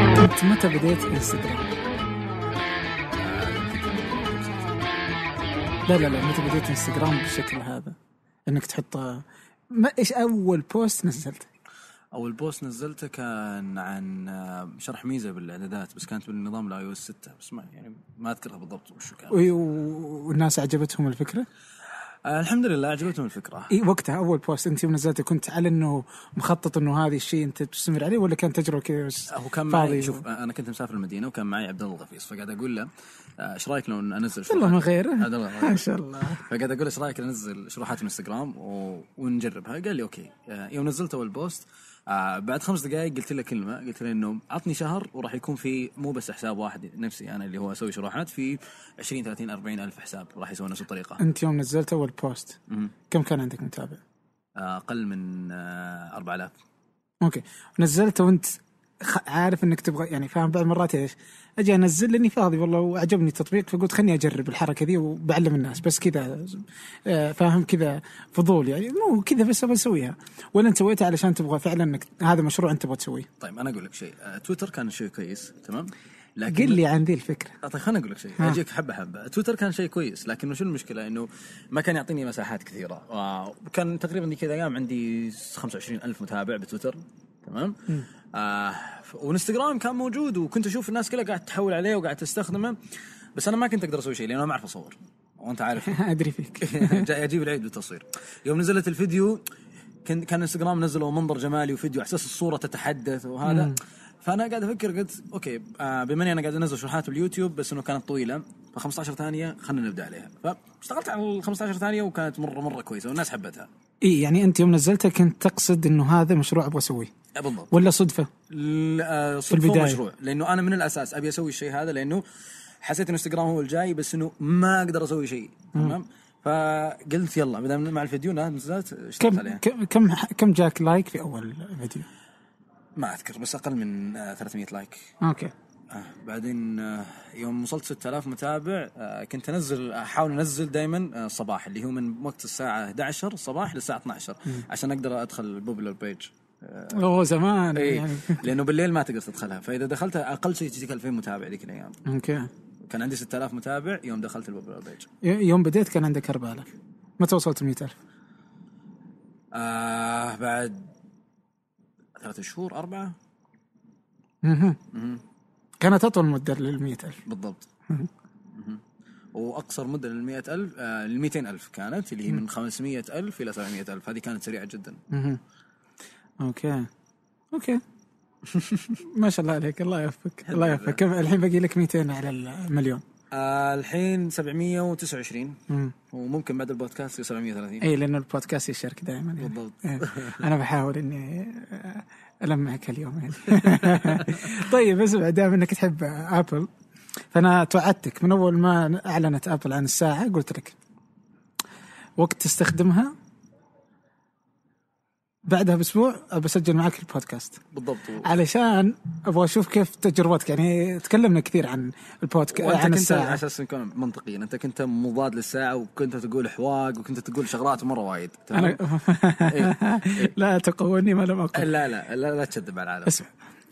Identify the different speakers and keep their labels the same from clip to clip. Speaker 1: حتى بداية انستجرام لا لا لا متى بديت انستغرام بالشكل هذا انك تحط ما ايش اول بوست نزلته؟
Speaker 2: اول بوست نزلته كان عن آه، شرح ميزه بالاعدادات بس كانت بالنظام الاي او اس 6 بس ما يعني ما اذكرها بالضبط وشو كان
Speaker 1: وي- و- والناس عجبتهم الفكره؟
Speaker 2: آه الحمد لله عجبتهم الفكره
Speaker 1: اي وقتها اول بوست انت يوم نزلته كنت على انه مخطط انه هذا الشيء انت تستمر عليه ولا كان تجربه كذا بس
Speaker 2: هو كان
Speaker 1: إيه، فاضي.
Speaker 2: معي شوف آه، انا كنت مسافر المدينه وكان معي عبد الله الغفيص فقاعد اقول له آه، ايش رايك لو انزل
Speaker 1: عبد الله ما غيره
Speaker 2: عبد الله
Speaker 1: ما شاء الله
Speaker 2: فقاعد اقول ايش رايك ننزل شروحات انستغرام و... ونجربها قال لي اوكي آه، يوم نزلت اول بوست آه، بعد خمس دقائق قلت له كلمه قلت له انه عطني شهر وراح يكون في مو بس حساب واحد نفسي انا اللي هو اسوي شروحات في 20 30 40 الف حساب راح يسوون نفس الطريقه
Speaker 1: انت يوم نزلت اول بوست
Speaker 2: مهم.
Speaker 1: كم كان عندك متابع؟
Speaker 2: آه، اقل من آه، 4000
Speaker 1: اوكي نزلته وانت خ- عارف انك تبغى يعني فاهم بعض المرات ايش؟ اجي انزل لاني فاضي والله وعجبني التطبيق فقلت خليني اجرب الحركه ذي وبعلم الناس بس كذا آه، فاهم كذا فضول يعني مو كذا بس ابغى اسويها ولا انت سويتها علشان تبغى فعلا انك هذا مشروع انت تبغى تسويه؟
Speaker 2: طيب انا اقول لك شيء آه، تويتر كان شيء كويس تمام لكن
Speaker 1: قل لي عن ذي الفكره
Speaker 2: آه، طيب خليني اقول لك شيء
Speaker 1: ها.
Speaker 2: اجيك حبه حبه تويتر كان شيء كويس لكن شو المشكله انه ما كان يعطيني مساحات كثيره آه، وكان تقريبا ذيك الايام عندي 25 الف متابع بتويتر تمام آه ف- وانستغرام كان موجود وكنت اشوف الناس كلها قاعد تحول عليه وقاعد تستخدمه بس انا ما كنت اقدر اسوي شيء لانه أنا ما اعرف اصور وانت عارف
Speaker 1: ادري فيك
Speaker 2: جاي اجيب العيد بالتصوير يوم نزلت الفيديو كان كان انستغرام نزلوا منظر جمالي وفيديو على اساس الصوره تتحدث وهذا فانا قاعد افكر قلت اوكي آه، بما اني انا قاعد انزل شروحات باليوتيوب بس انه كانت طويله ف 15 ثانيه خلينا نبدا عليها فاشتغلت على ال 15 ثانيه وكانت مره مره كويسه والناس حبتها
Speaker 1: اي يعني انت يوم نزلته كنت تقصد انه هذا مشروع ابغى اسويه
Speaker 2: آه، بالضبط
Speaker 1: ولا صدفه؟
Speaker 2: ل- آه، صدفه
Speaker 1: البداية.
Speaker 2: مشروع لانه انا من الاساس ابي اسوي الشيء هذا لانه حسيت ان انستغرام هو الجاي بس انه ما اقدر اسوي شيء تمام فقلت يلا بدأنا مع الفيديو لا نزلت اشتغلت
Speaker 1: كم
Speaker 2: عليها
Speaker 1: كم كم كم جاك لايك في اول فيديو؟
Speaker 2: ما اذكر بس اقل من آه، 300 لايك
Speaker 1: اوكي
Speaker 2: آه، بعدين آه، يوم وصلت 6000 متابع آه، كنت انزل احاول انزل دائما الصباح آه، اللي هو من وقت الساعه 11 الصباح للساعه 12 عشان اقدر ادخل البوبلر بيج
Speaker 1: اوه زمان
Speaker 2: اي
Speaker 1: يعني
Speaker 2: لانه إيه، بالليل ما تقدر تدخلها فاذا دخلتها اقل شيء تجيك 2000 متابع ذيك الايام
Speaker 1: اوكي
Speaker 2: كان عندي 6000 متابع يوم دخلت البوبلر بيج
Speaker 1: يوم بديت كان عندك 4000 متى وصلت 100000
Speaker 2: آه بعد ثلاثة شهور أربعة
Speaker 1: اها كانت اطول مده لل 100000
Speaker 2: بالضبط مهم. واقصر مده لل 100000 آه لل 200000 كانت اللي هي من 500000 الى 700000 هذه كانت سريعه جدا
Speaker 1: اها اوكي اوكي ما شاء الله عليك الله يوفقك الله يوفقك كم الحين باقي لك 200 على المليون
Speaker 2: آه الحين 729
Speaker 1: مم.
Speaker 2: وممكن بعد البودكاست يصير 730
Speaker 1: اي لانه إيه، البودكاست يشارك دائما يعني.
Speaker 2: بالضبط.
Speaker 1: إيه. انا بحاول اني المعك اليوم يعني طيب اسمع دام انك تحب ابل فانا توعدتك من اول ما اعلنت ابل عن الساعه قلت لك وقت تستخدمها بعدها باسبوع بسجل معك البودكاست
Speaker 2: بالضبط و-
Speaker 1: علشان ابغى اشوف كيف تجربتك يعني تكلمنا كثير عن البودكاست
Speaker 2: وانت
Speaker 1: عن
Speaker 2: كنت على
Speaker 1: الساعه
Speaker 2: اساس نكون منطقيين انت كنت مضاد للساعه وكنت تقول حواق وكنت تقول شغلات مره وايد تمام؟
Speaker 1: انا
Speaker 2: إيه.
Speaker 1: لا تقولني ما لم اقل
Speaker 2: لا لا لا لا تشذب على العالم
Speaker 1: اسمع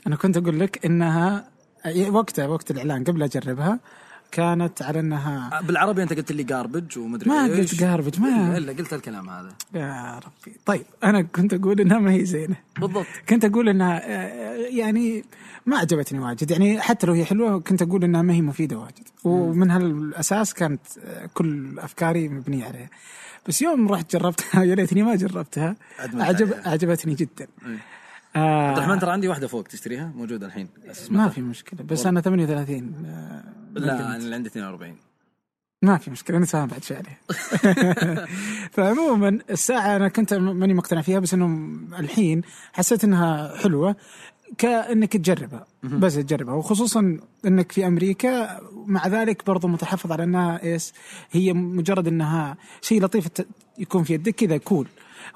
Speaker 1: انا كنت اقول لك انها أي- وقتها وقت الاعلان قبل اجربها كانت على انها
Speaker 2: آه، بالعربي انت قلت لي جاربج ومدري
Speaker 1: ما
Speaker 2: ايش
Speaker 1: قلت garbage، ما-
Speaker 2: الا قلت الكلام هذا
Speaker 1: يا ربي طيب انا كنت اقول انها ما هي زينه
Speaker 2: بالضبط
Speaker 1: كنت اقول انها آه، يعني ما عجبتني واجد يعني حتى لو هي حلوه كنت اقول انها ما هي مفيده واجد ومن هالاساس كانت آه، كل افكاري مبنيه عليها بس يوم رحت جربتها يا ليتني ما جربتها
Speaker 2: أدمنت
Speaker 1: عجب
Speaker 2: عليها.
Speaker 1: عجبتني جدا
Speaker 2: إيه.
Speaker 1: آه،
Speaker 2: عبد الرحمن ترى عندي واحده فوق تشتريها موجوده الحين أساس ما
Speaker 1: ما في مشكله بس انا 38 آه،
Speaker 2: لا انا اللي عندي 42
Speaker 1: ما في مشكله انا فاهم بعد شيء عليه فعموما الساعه انا كنت م- ماني مقتنع فيها بس انه الحين حسيت انها حلوه كانك تجربها بس تجربها وخصوصا انك في امريكا مع ذلك برضو متحفظ على انها ايش هي مجرد انها شيء لطيف ت- يكون في يدك كذا كول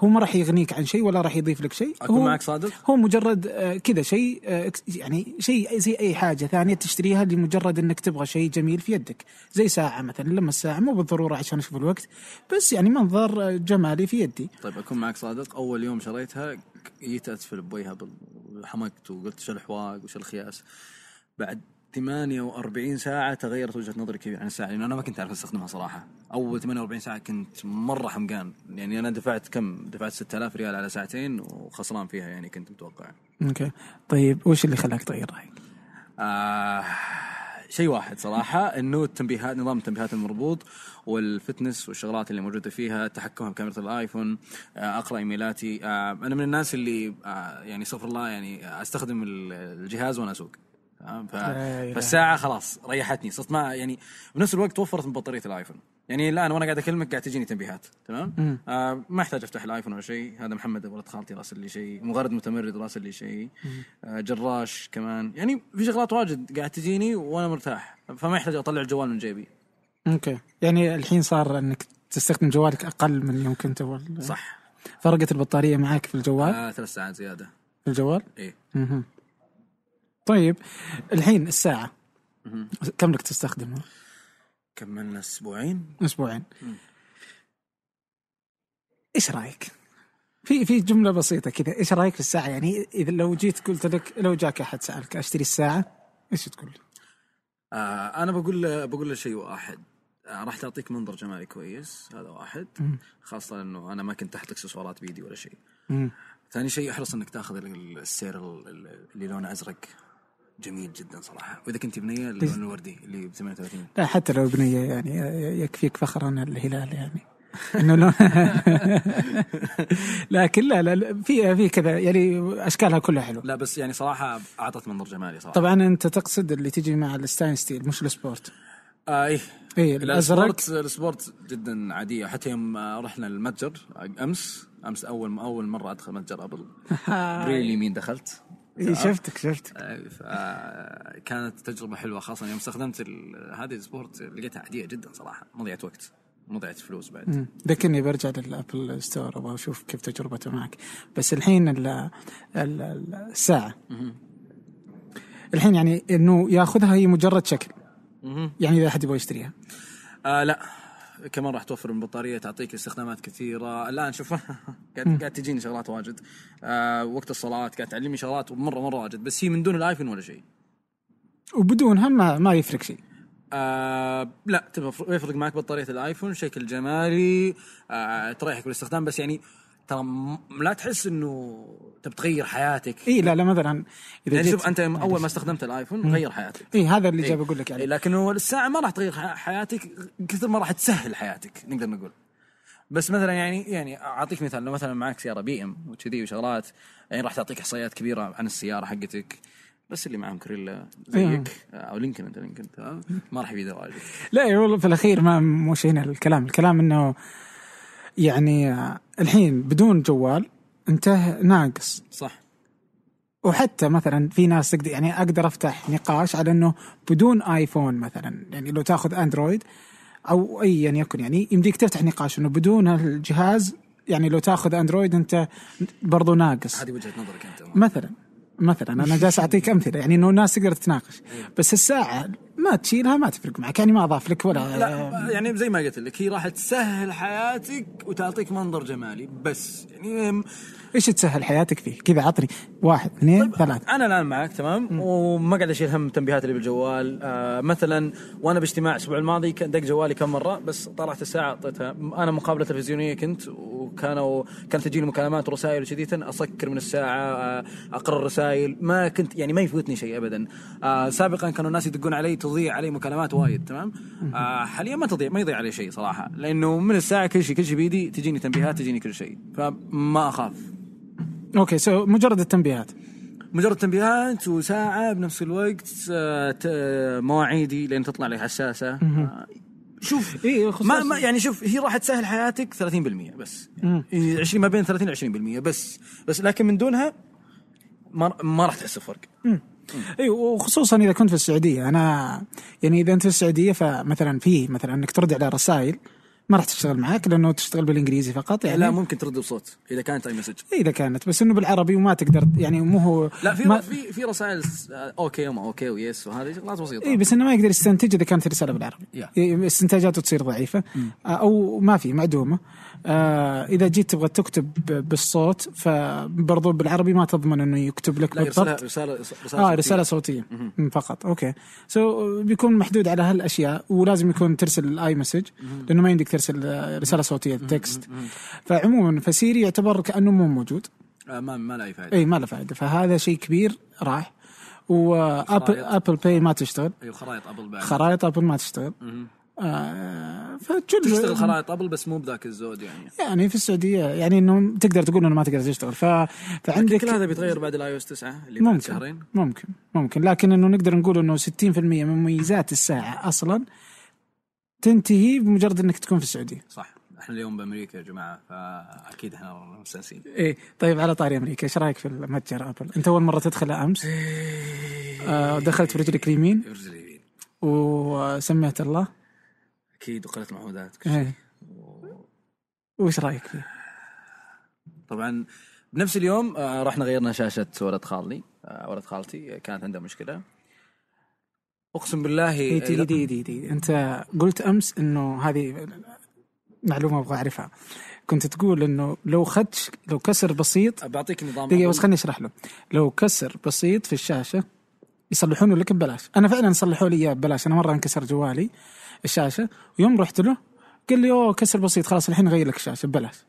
Speaker 1: هو ما راح يغنيك عن شيء ولا راح يضيف لك شيء
Speaker 2: أكون
Speaker 1: هو-
Speaker 2: معك صادق؟
Speaker 1: هو مجرد آه، كذا شيء آه، إكس- يعني شيء زي اي حاجه ثانيه تشتريها لمجرد انك تبغى شيء جميل في يدك زي ساعه مثلا لما الساعه مو بالضروره عشان اشوف الوقت بس يعني منظر آه، جمالي في يدي
Speaker 2: طيب اكون معك صادق اول يوم شريتها جيت اسفل بويها بال- وحمقت وقلت شو الحواق وش الخياس بعد 48 ساعة تغيرت وجهة نظري كبير عن الساعة لأنه أنا ما كنت أعرف أستخدمها صراحة أول 48 ساعة كنت مرة حمقان يعني أنا دفعت كم دفعت 6000 ريال على ساعتين وخسران فيها يعني كنت متوقع
Speaker 1: اوكي طيب وش اللي خلاك تغير رايك؟
Speaker 2: آه شيء واحد صراحة انه التنبيهات نظام التنبيهات المربوط والفتنس والشغلات اللي موجودة فيها تحكمها بكاميرا الايفون آه اقرا ايميلاتي آه انا من الناس اللي آه يعني استغفر الله يعني استخدم ال- الجهاز وانا اسوق آه، ف...
Speaker 1: إله.
Speaker 2: فالساعة خلاص ريحتني صرت ما يعني بنفس الوقت توفرت من بطارية الايفون يعني الان وانا قاعد اكلمك قاعد تجيني تنبيهات تمام؟ آه ما احتاج افتح الايفون ولا شيء، هذا محمد ولد خالتي راسل لي شيء، مغرد متمرد راسل لي شيء، آه جراش كمان، يعني في شغلات واجد قاعد تجيني وانا مرتاح، فما يحتاج اطلع الجوال من جيبي.
Speaker 1: اوكي يعني الحين صار انك تستخدم جوالك اقل من يوم كنت اول
Speaker 2: صح
Speaker 1: فرقت البطاريه معاك في الجوال
Speaker 2: آه ثلاث ساعات زياده،
Speaker 1: في الجوال
Speaker 2: ايه
Speaker 1: مهم. طيب الحين الساعه كم لك تستخدمها؟
Speaker 2: كملنا اسبوعين
Speaker 1: اسبوعين ايش رايك؟ في في جمله بسيطه كذا ايش رايك في الساعه يعني اذا لو جيت قلت لك لو جاك احد سالك اشتري الساعه ايش تقول لي؟
Speaker 2: آه انا بقول له بقول له شيء واحد آه راح تعطيك منظر جمالي كويس هذا واحد خاصه انه انا ما كنت تحت اكسسوارات بيدي ولا شيء
Speaker 1: مم.
Speaker 2: ثاني شيء احرص انك تاخذ ال- السير ال- ال- اللي لونه ازرق جميل جدا صراحه واذا كنت بنيه اللون الوردي اللي ب 38
Speaker 1: لا حتى لو بنيه يعني يكفيك فخر عن الهلال يعني انه لون لكن لا لا في في كذا يعني اشكالها كلها حلوه
Speaker 2: لا بس يعني صراحه اعطت منظر جمالي صراحه
Speaker 1: طبعا انت تقصد اللي تجي مع الستاين ستيل مش السبورت
Speaker 2: آه ايه
Speaker 1: إيه، الأزرق.
Speaker 2: السبورت السبورت جدا عاديه حتى يوم آه، رحنا المتجر امس امس اول اول مره ادخل متجر ابل بريلي اليمين دخلت
Speaker 1: إيه، شفتك شفتك
Speaker 2: آه، كانت تجربة حلوة خاصة يوم استخدمت ال- هذه السبورت لقيتها عادية جدا صراحة مضيعة وقت مضيعة فلوس بعد
Speaker 1: مم. ذكرني برجع للابل ستور ابغى اشوف كيف تجربته معك بس الحين ال ال الساعه الحين يعني انه ياخذها هي مجرد شكل
Speaker 2: مهم.
Speaker 1: يعني اذا احد يبغى يشتريها
Speaker 2: آه لا كمان راح توفر من بطارية تعطيك استخدامات كثيرة الآن شوف قاعد قاعد تجيني شغلات واجد آه وقت الصلاة قاعد تعلمني شغلات مرة مرة واجد بس هي من دون الايفون ولا شيء
Speaker 1: وبدونها ما ما يفرق شيء
Speaker 2: آه لا تبغى- يفرق معك بطارية الايفون شكل جمالي آه تريحك بالاستخدام بس يعني ترى م- لا تحس انه تبي تغير حياتك
Speaker 1: اي لا لا مثلا اذا
Speaker 2: يعني
Speaker 1: جيت-
Speaker 2: شوف انت اول ما استخدمت الايفون غير حياتك
Speaker 1: اي هذا اللي
Speaker 2: إيه.
Speaker 1: جاب اقول لك يعني
Speaker 2: لكن هو الساعه ما راح تغير ح- حياتك كثر ما راح تسهل حياتك نقدر نقول بس مثلا يعني يعني اعطيك مثال لو مثلا معك سياره بي ام وكذي وشغلات يعني راح تعطيك احصائيات كبيره عن السياره حقتك بس اللي معهم كريلا زيك
Speaker 1: إيه.
Speaker 2: او لينكن انت لينكن تمام ما راح يفيده واجد
Speaker 1: لا والله في الاخير ما مش هنا الكلام الكلام انه يعني آه، الحين بدون جوال انت ناقص
Speaker 2: صح
Speaker 1: وحتى مثلا في ناس تقدر يعني اقدر افتح نقاش على انه بدون ايفون مثلا يعني لو تاخذ اندرويد او ايا يكن يعني يمديك تفتح نقاش انه بدون الجهاز يعني لو تاخذ اندرويد انت برضو ناقص
Speaker 2: هذه وجهه نظرك انت
Speaker 1: مثلا مثلا انا جالس اعطيك امثله يعني انه الناس تقدر تتناقش بس الساعه ما تشيلها ما تفرق معك يعني ما اضاف لك ولا
Speaker 2: لا يعني زي ما قلت لك هي راح تسهل حياتك وتعطيك منظر جمالي بس يعني
Speaker 1: ايش تسهل حياتك فيه كذا عطني واحد
Speaker 2: طيب.
Speaker 1: اثنين ثلاثة
Speaker 2: انا الان معك تمام وما قاعد اشيل هم التنبيهات اللي بالجوال آه مثلا وانا باجتماع الاسبوع الماضي كان دق جوالي كم مره بس طلعت الساعه اعطيتها انا مقابله تلفزيونيه كنت وكانوا كانت تجيني مكالمات ورسائل وكذي اسكر من الساعه آه اقرا الرسائل ما كنت يعني ما يفوتني شيء ابدا آه سابقا كانوا الناس يدقون علي تضيع علي مكالمات وايد تمام آه حاليا ما تضيع ما يضيع علي شيء صراحه لانه من الساعه كل شيء كل شيء بيدي تجيني تنبيهات تجيني كل شيء فما اخاف
Speaker 1: اوكي سو مجرد التنبيهات
Speaker 2: مجرد تنبيهات وساعة بنفس الوقت آه، ت- آه، مواعيدي لين تطلع لي على الشاشة آه، شوف
Speaker 1: إيه،
Speaker 2: ما,
Speaker 1: خصوصاً-
Speaker 2: ما يعني شوف هي راح تسهل حياتك 30% بس يعني 20 ما بين 30 ل 20% بس بس لكن من دونها ما ما راح تحس بفرق
Speaker 1: اي وخصوصا اذا إيه، كنت في السعوديه انا يعني اذا انت في السعوديه فمثلا في مثلا انك ترد على رسائل ما راح تشتغل معك لانه تشتغل بالانجليزي فقط يعني
Speaker 2: لا ممكن ترد بصوت اذا كانت اي مسج
Speaker 1: اذا كانت بس انه بالعربي وما تقدر يعني مو هو
Speaker 2: لا في
Speaker 1: ما-
Speaker 2: في في رسائل س- آه، اوكي وما اوكي ويس وهذه شغلات
Speaker 1: اي
Speaker 2: بسيطة
Speaker 1: إيه، بس انه ما يقدر يستنتج اذا كانت الرساله بالعربي
Speaker 2: Yeah.
Speaker 1: إيه، استنتاجاته تصير ضعيفه آه، او ما في معدومه آه اذا جيت تبغى تكتب ب- بالصوت فبرضو بالعربي ما تضمن انه يكتب لك
Speaker 2: لا رساله
Speaker 1: بالضبط
Speaker 2: رساله رساله
Speaker 1: اه
Speaker 2: صوتية.
Speaker 1: رساله صوتيه مم، فقط اوكي سو so, بيكون محدود على هالاشياء ولازم يكون ترسل الاي مسج لانه ما يمديك ترسل آه، رساله صوتيه تكست فعموما فسيري يعتبر كانه مو موجود
Speaker 2: آه ما ما له اي فائده
Speaker 1: اي ما له فائده فهذا شيء كبير راح وابل
Speaker 2: خرائط.
Speaker 1: ابل باي ما تشتغل
Speaker 2: اي أيوة، خرائط ابل بعد
Speaker 1: خرائط ابل ما تشتغل آه فتشل
Speaker 2: تشتغل خرائط ابل بس مو بذاك الزود يعني
Speaker 1: يعني في السعوديه يعني انه تقدر تقول انه ما تقدر تشتغل ف... فعندك
Speaker 2: كل هذا بيتغير بعد الاي او اس 9 اللي بعد
Speaker 1: ممكن
Speaker 2: شهرين
Speaker 1: ممكن ممكن لكن انه نقدر نقول انه 60% من مميزات الساعه اصلا تنتهي بمجرد انك تكون في السعوديه
Speaker 2: صح احنا اليوم بامريكا يا جماعه فاكيد احنا مستانسين
Speaker 1: ايه طيب على طاري امريكا ايش رايك في متجر ابل؟ انت اول مره تدخل امس آه دخلت برجلك اليمين
Speaker 2: يرجل يمين
Speaker 1: وسميت الله
Speaker 2: اكيد وقلت محمودات كل شيء.
Speaker 1: ايه وش رايك فيه؟
Speaker 2: طبعا بنفس اليوم آه، رحنا غيرنا شاشه ولد خالي آه، ولد خالتي آه، كانت عنده مشكله اقسم بالله
Speaker 1: دي دي دي دي, دي. انت قلت امس انه هذه معلومه ابغى اعرفها كنت تقول انه لو خدش لو كسر بسيط
Speaker 2: بعطيك نظام
Speaker 1: دقيقه
Speaker 2: أبل.
Speaker 1: بس خليني اشرح له لو كسر بسيط في الشاشه يصلحونه لك ببلاش انا فعلا صلحوا لي اياه ببلاش انا مره انكسر جوالي الشاشه ويوم رحت له قال لي اوه كسر بسيط خلاص الحين غير لك الشاشه ببلاش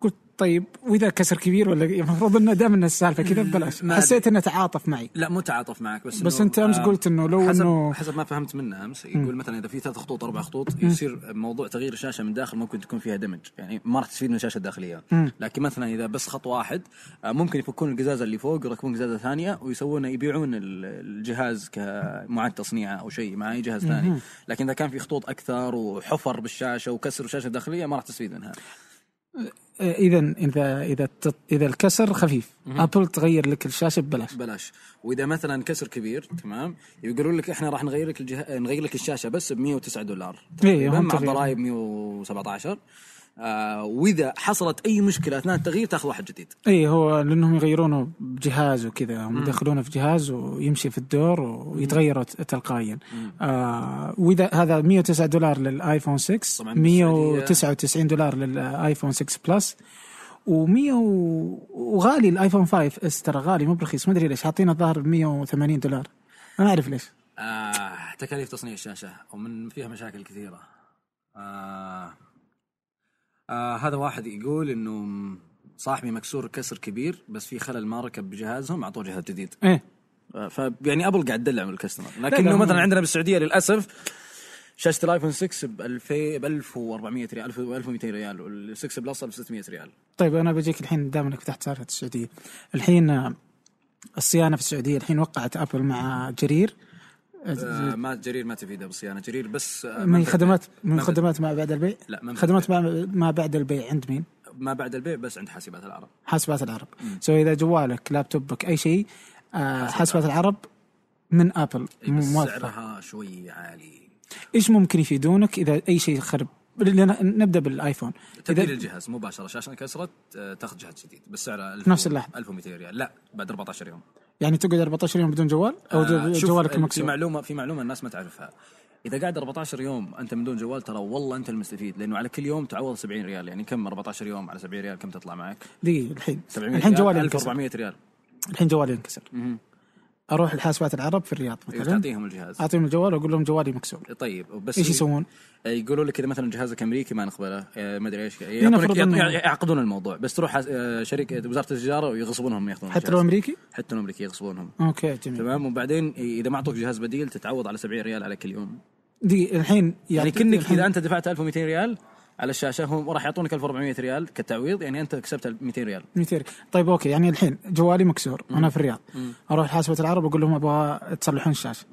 Speaker 1: قلت طيب واذا كسر كبير ولا المفروض انه دام إن السالفه كذا ببلاش
Speaker 2: ما
Speaker 1: حسيت انه تعاطف معي
Speaker 2: لا مو تعاطف معك بس
Speaker 1: بس
Speaker 2: إنه،
Speaker 1: أنت أمس
Speaker 2: آه،
Speaker 1: قلت إنه لو
Speaker 2: حسب
Speaker 1: إنه-
Speaker 2: حسب ما فهمت منه امس يقول مثلا اذا في ثلاث خطوط اربع خطوط يصير موضوع تغيير الشاشه من داخل ممكن تكون فيها دمج يعني ما راح تستفيد من الشاشه الداخليه لكن مثلا اذا بس خط واحد آه، ممكن يفكون القزازه اللي فوق ويركبون قزازه ثانيه ويسوون يبيعون ال- الجهاز كمعاد تصنيعه او شيء مع اي جهاز ثاني لكن اذا كان في خطوط اكثر وحفر بالشاشه وكسر الشاشه الداخليه ما راح تستفيد منها
Speaker 1: اذا اذا اذا الت- اذا الكسر خفيف ابل تغير لك الشاشه ببلاش
Speaker 2: بلاش واذا مثلا كسر كبير تمام يقولون لك احنا راح نغير لك الجه... نغير لك الشاشه بس ب 109 دولار تقريبا
Speaker 1: إيه، هم
Speaker 2: مع
Speaker 1: تغيير.
Speaker 2: الضرائب 117 آه واذا حصلت اي مشكله اثناء التغيير تاخذ واحد جديد
Speaker 1: اي هو لانهم يغيرونه بجهاز وكذا هم يدخلونه في جهاز ويمشي في الدور ويتغير ت- تلقائيا آه واذا هذا 109 دولار للايفون 6
Speaker 2: طبعاً
Speaker 1: 199 دولار للايفون 6 بلس و100 وغالي الايفون 5 اس ترى غالي مو برخيص ما ادري ليش حاطين الظاهر ب 180 دولار انا اعرف ليش
Speaker 2: آه تكاليف تصنيع الشاشه ومن فيها مشاكل كثيره آه آه هذا واحد يقول انه صاحبي مكسور كسر كبير بس في خلل ما ركب بجهازهم اعطوه جهاز جديد
Speaker 1: ايه
Speaker 2: فيعني ابل يعني قاعد تدلع من الكاستمر
Speaker 1: لا،
Speaker 2: لكنه
Speaker 1: هم-
Speaker 2: مثلا عندنا بالسعوديه للاسف شاشه الايفون 6 ب 2000 ب 1400 ريال 1000 1200 ريال وال 6 بلس ب 600 ريال
Speaker 1: طيب انا بجيك الحين دام انك فتحت سالفه السعوديه الحين آه، الصيانه في السعوديه الحين وقعت ابل مع جرير
Speaker 2: آه ما جرير ما تفيده بالصيانه جرير بس آه
Speaker 1: من
Speaker 2: منفذ
Speaker 1: خدمات من
Speaker 2: منفذ-
Speaker 1: خدمات ما بعد البيع
Speaker 2: لا، منفذ
Speaker 1: خدمات ما ما بعد البيع عند مين
Speaker 2: ما بعد البيع بس عند حاسبات العرب
Speaker 1: حاسبات العرب سو اذا جوالك لابتوبك اي شيء آه حاسبات العرب إيه، من ابل
Speaker 2: إي، بس
Speaker 1: موظفه
Speaker 2: سعرها شوي عالي
Speaker 1: ايش ممكن يفيدونك اذا اي شيء خرب لنا- نبدا بالايفون
Speaker 2: تبديل الجهاز مباشره شاشه انكسرت آه تاخذ جهاز جديد بالسعر 1000
Speaker 1: نفس اللحظة.
Speaker 2: 1200 ريال لا بعد 14 يوم
Speaker 1: يعني تقعد 14 يوم بدون جوال او
Speaker 2: آه،
Speaker 1: جو-
Speaker 2: شوف،
Speaker 1: جوالك
Speaker 2: في
Speaker 1: مكسور
Speaker 2: معلومه في معلومه الناس ما تعرفها اذا قاعد 14 يوم انت من دون جوال ترى والله انت المستفيد لانه على كل يوم تعوض 70 ريال يعني كم 14 يوم على 70 ريال كم تطلع معك؟
Speaker 1: دقيقه الحين
Speaker 2: 700
Speaker 1: الحين
Speaker 2: ريال،
Speaker 1: جوالي انكسر
Speaker 2: 1400 ريال
Speaker 1: الحين جوالي انكسر اروح لحاسبات العرب في الرياض
Speaker 2: إيه،
Speaker 1: مثلا
Speaker 2: تعطيهم الجهاز
Speaker 1: اعطيهم الجوال واقول لهم جوالي مكسور
Speaker 2: طيب بس آه،
Speaker 1: ايش آه. يسوون؟
Speaker 2: يقولوا لك اذا مثلا جهازك امريكي ما نقبله آه، ما ادري ايش
Speaker 1: لنفرض
Speaker 2: يعطونك- يعط-
Speaker 1: إيه، إنه-
Speaker 2: يعقدون الموضوع بس تروح حس- آه، شركه وزاره التجاره ويغصبونهم ياخذون
Speaker 1: حتى لو
Speaker 2: الجهاز.
Speaker 1: امريكي؟
Speaker 2: حتى لو امريكي يغصبونهم
Speaker 1: اوكي جميل
Speaker 2: تمام وبعدين اذا ما اعطوك جهاز بديل تتعوض على 70 ريال على كل يوم
Speaker 1: دقيقه الحين
Speaker 2: يعني
Speaker 1: يعطيك-
Speaker 2: كانك
Speaker 1: الحين-
Speaker 2: اذا انت دفعت 1200 ريال على الشاشه هم راح يعطونك 1400 ريال كتعويض يعني انت كسبت 200 ريال
Speaker 1: 200 طيب اوكي يعني الحين جوالي مكسور وانا في الرياض اروح حاسبه العرب اقول لهم ابغى تصلحون الشاشه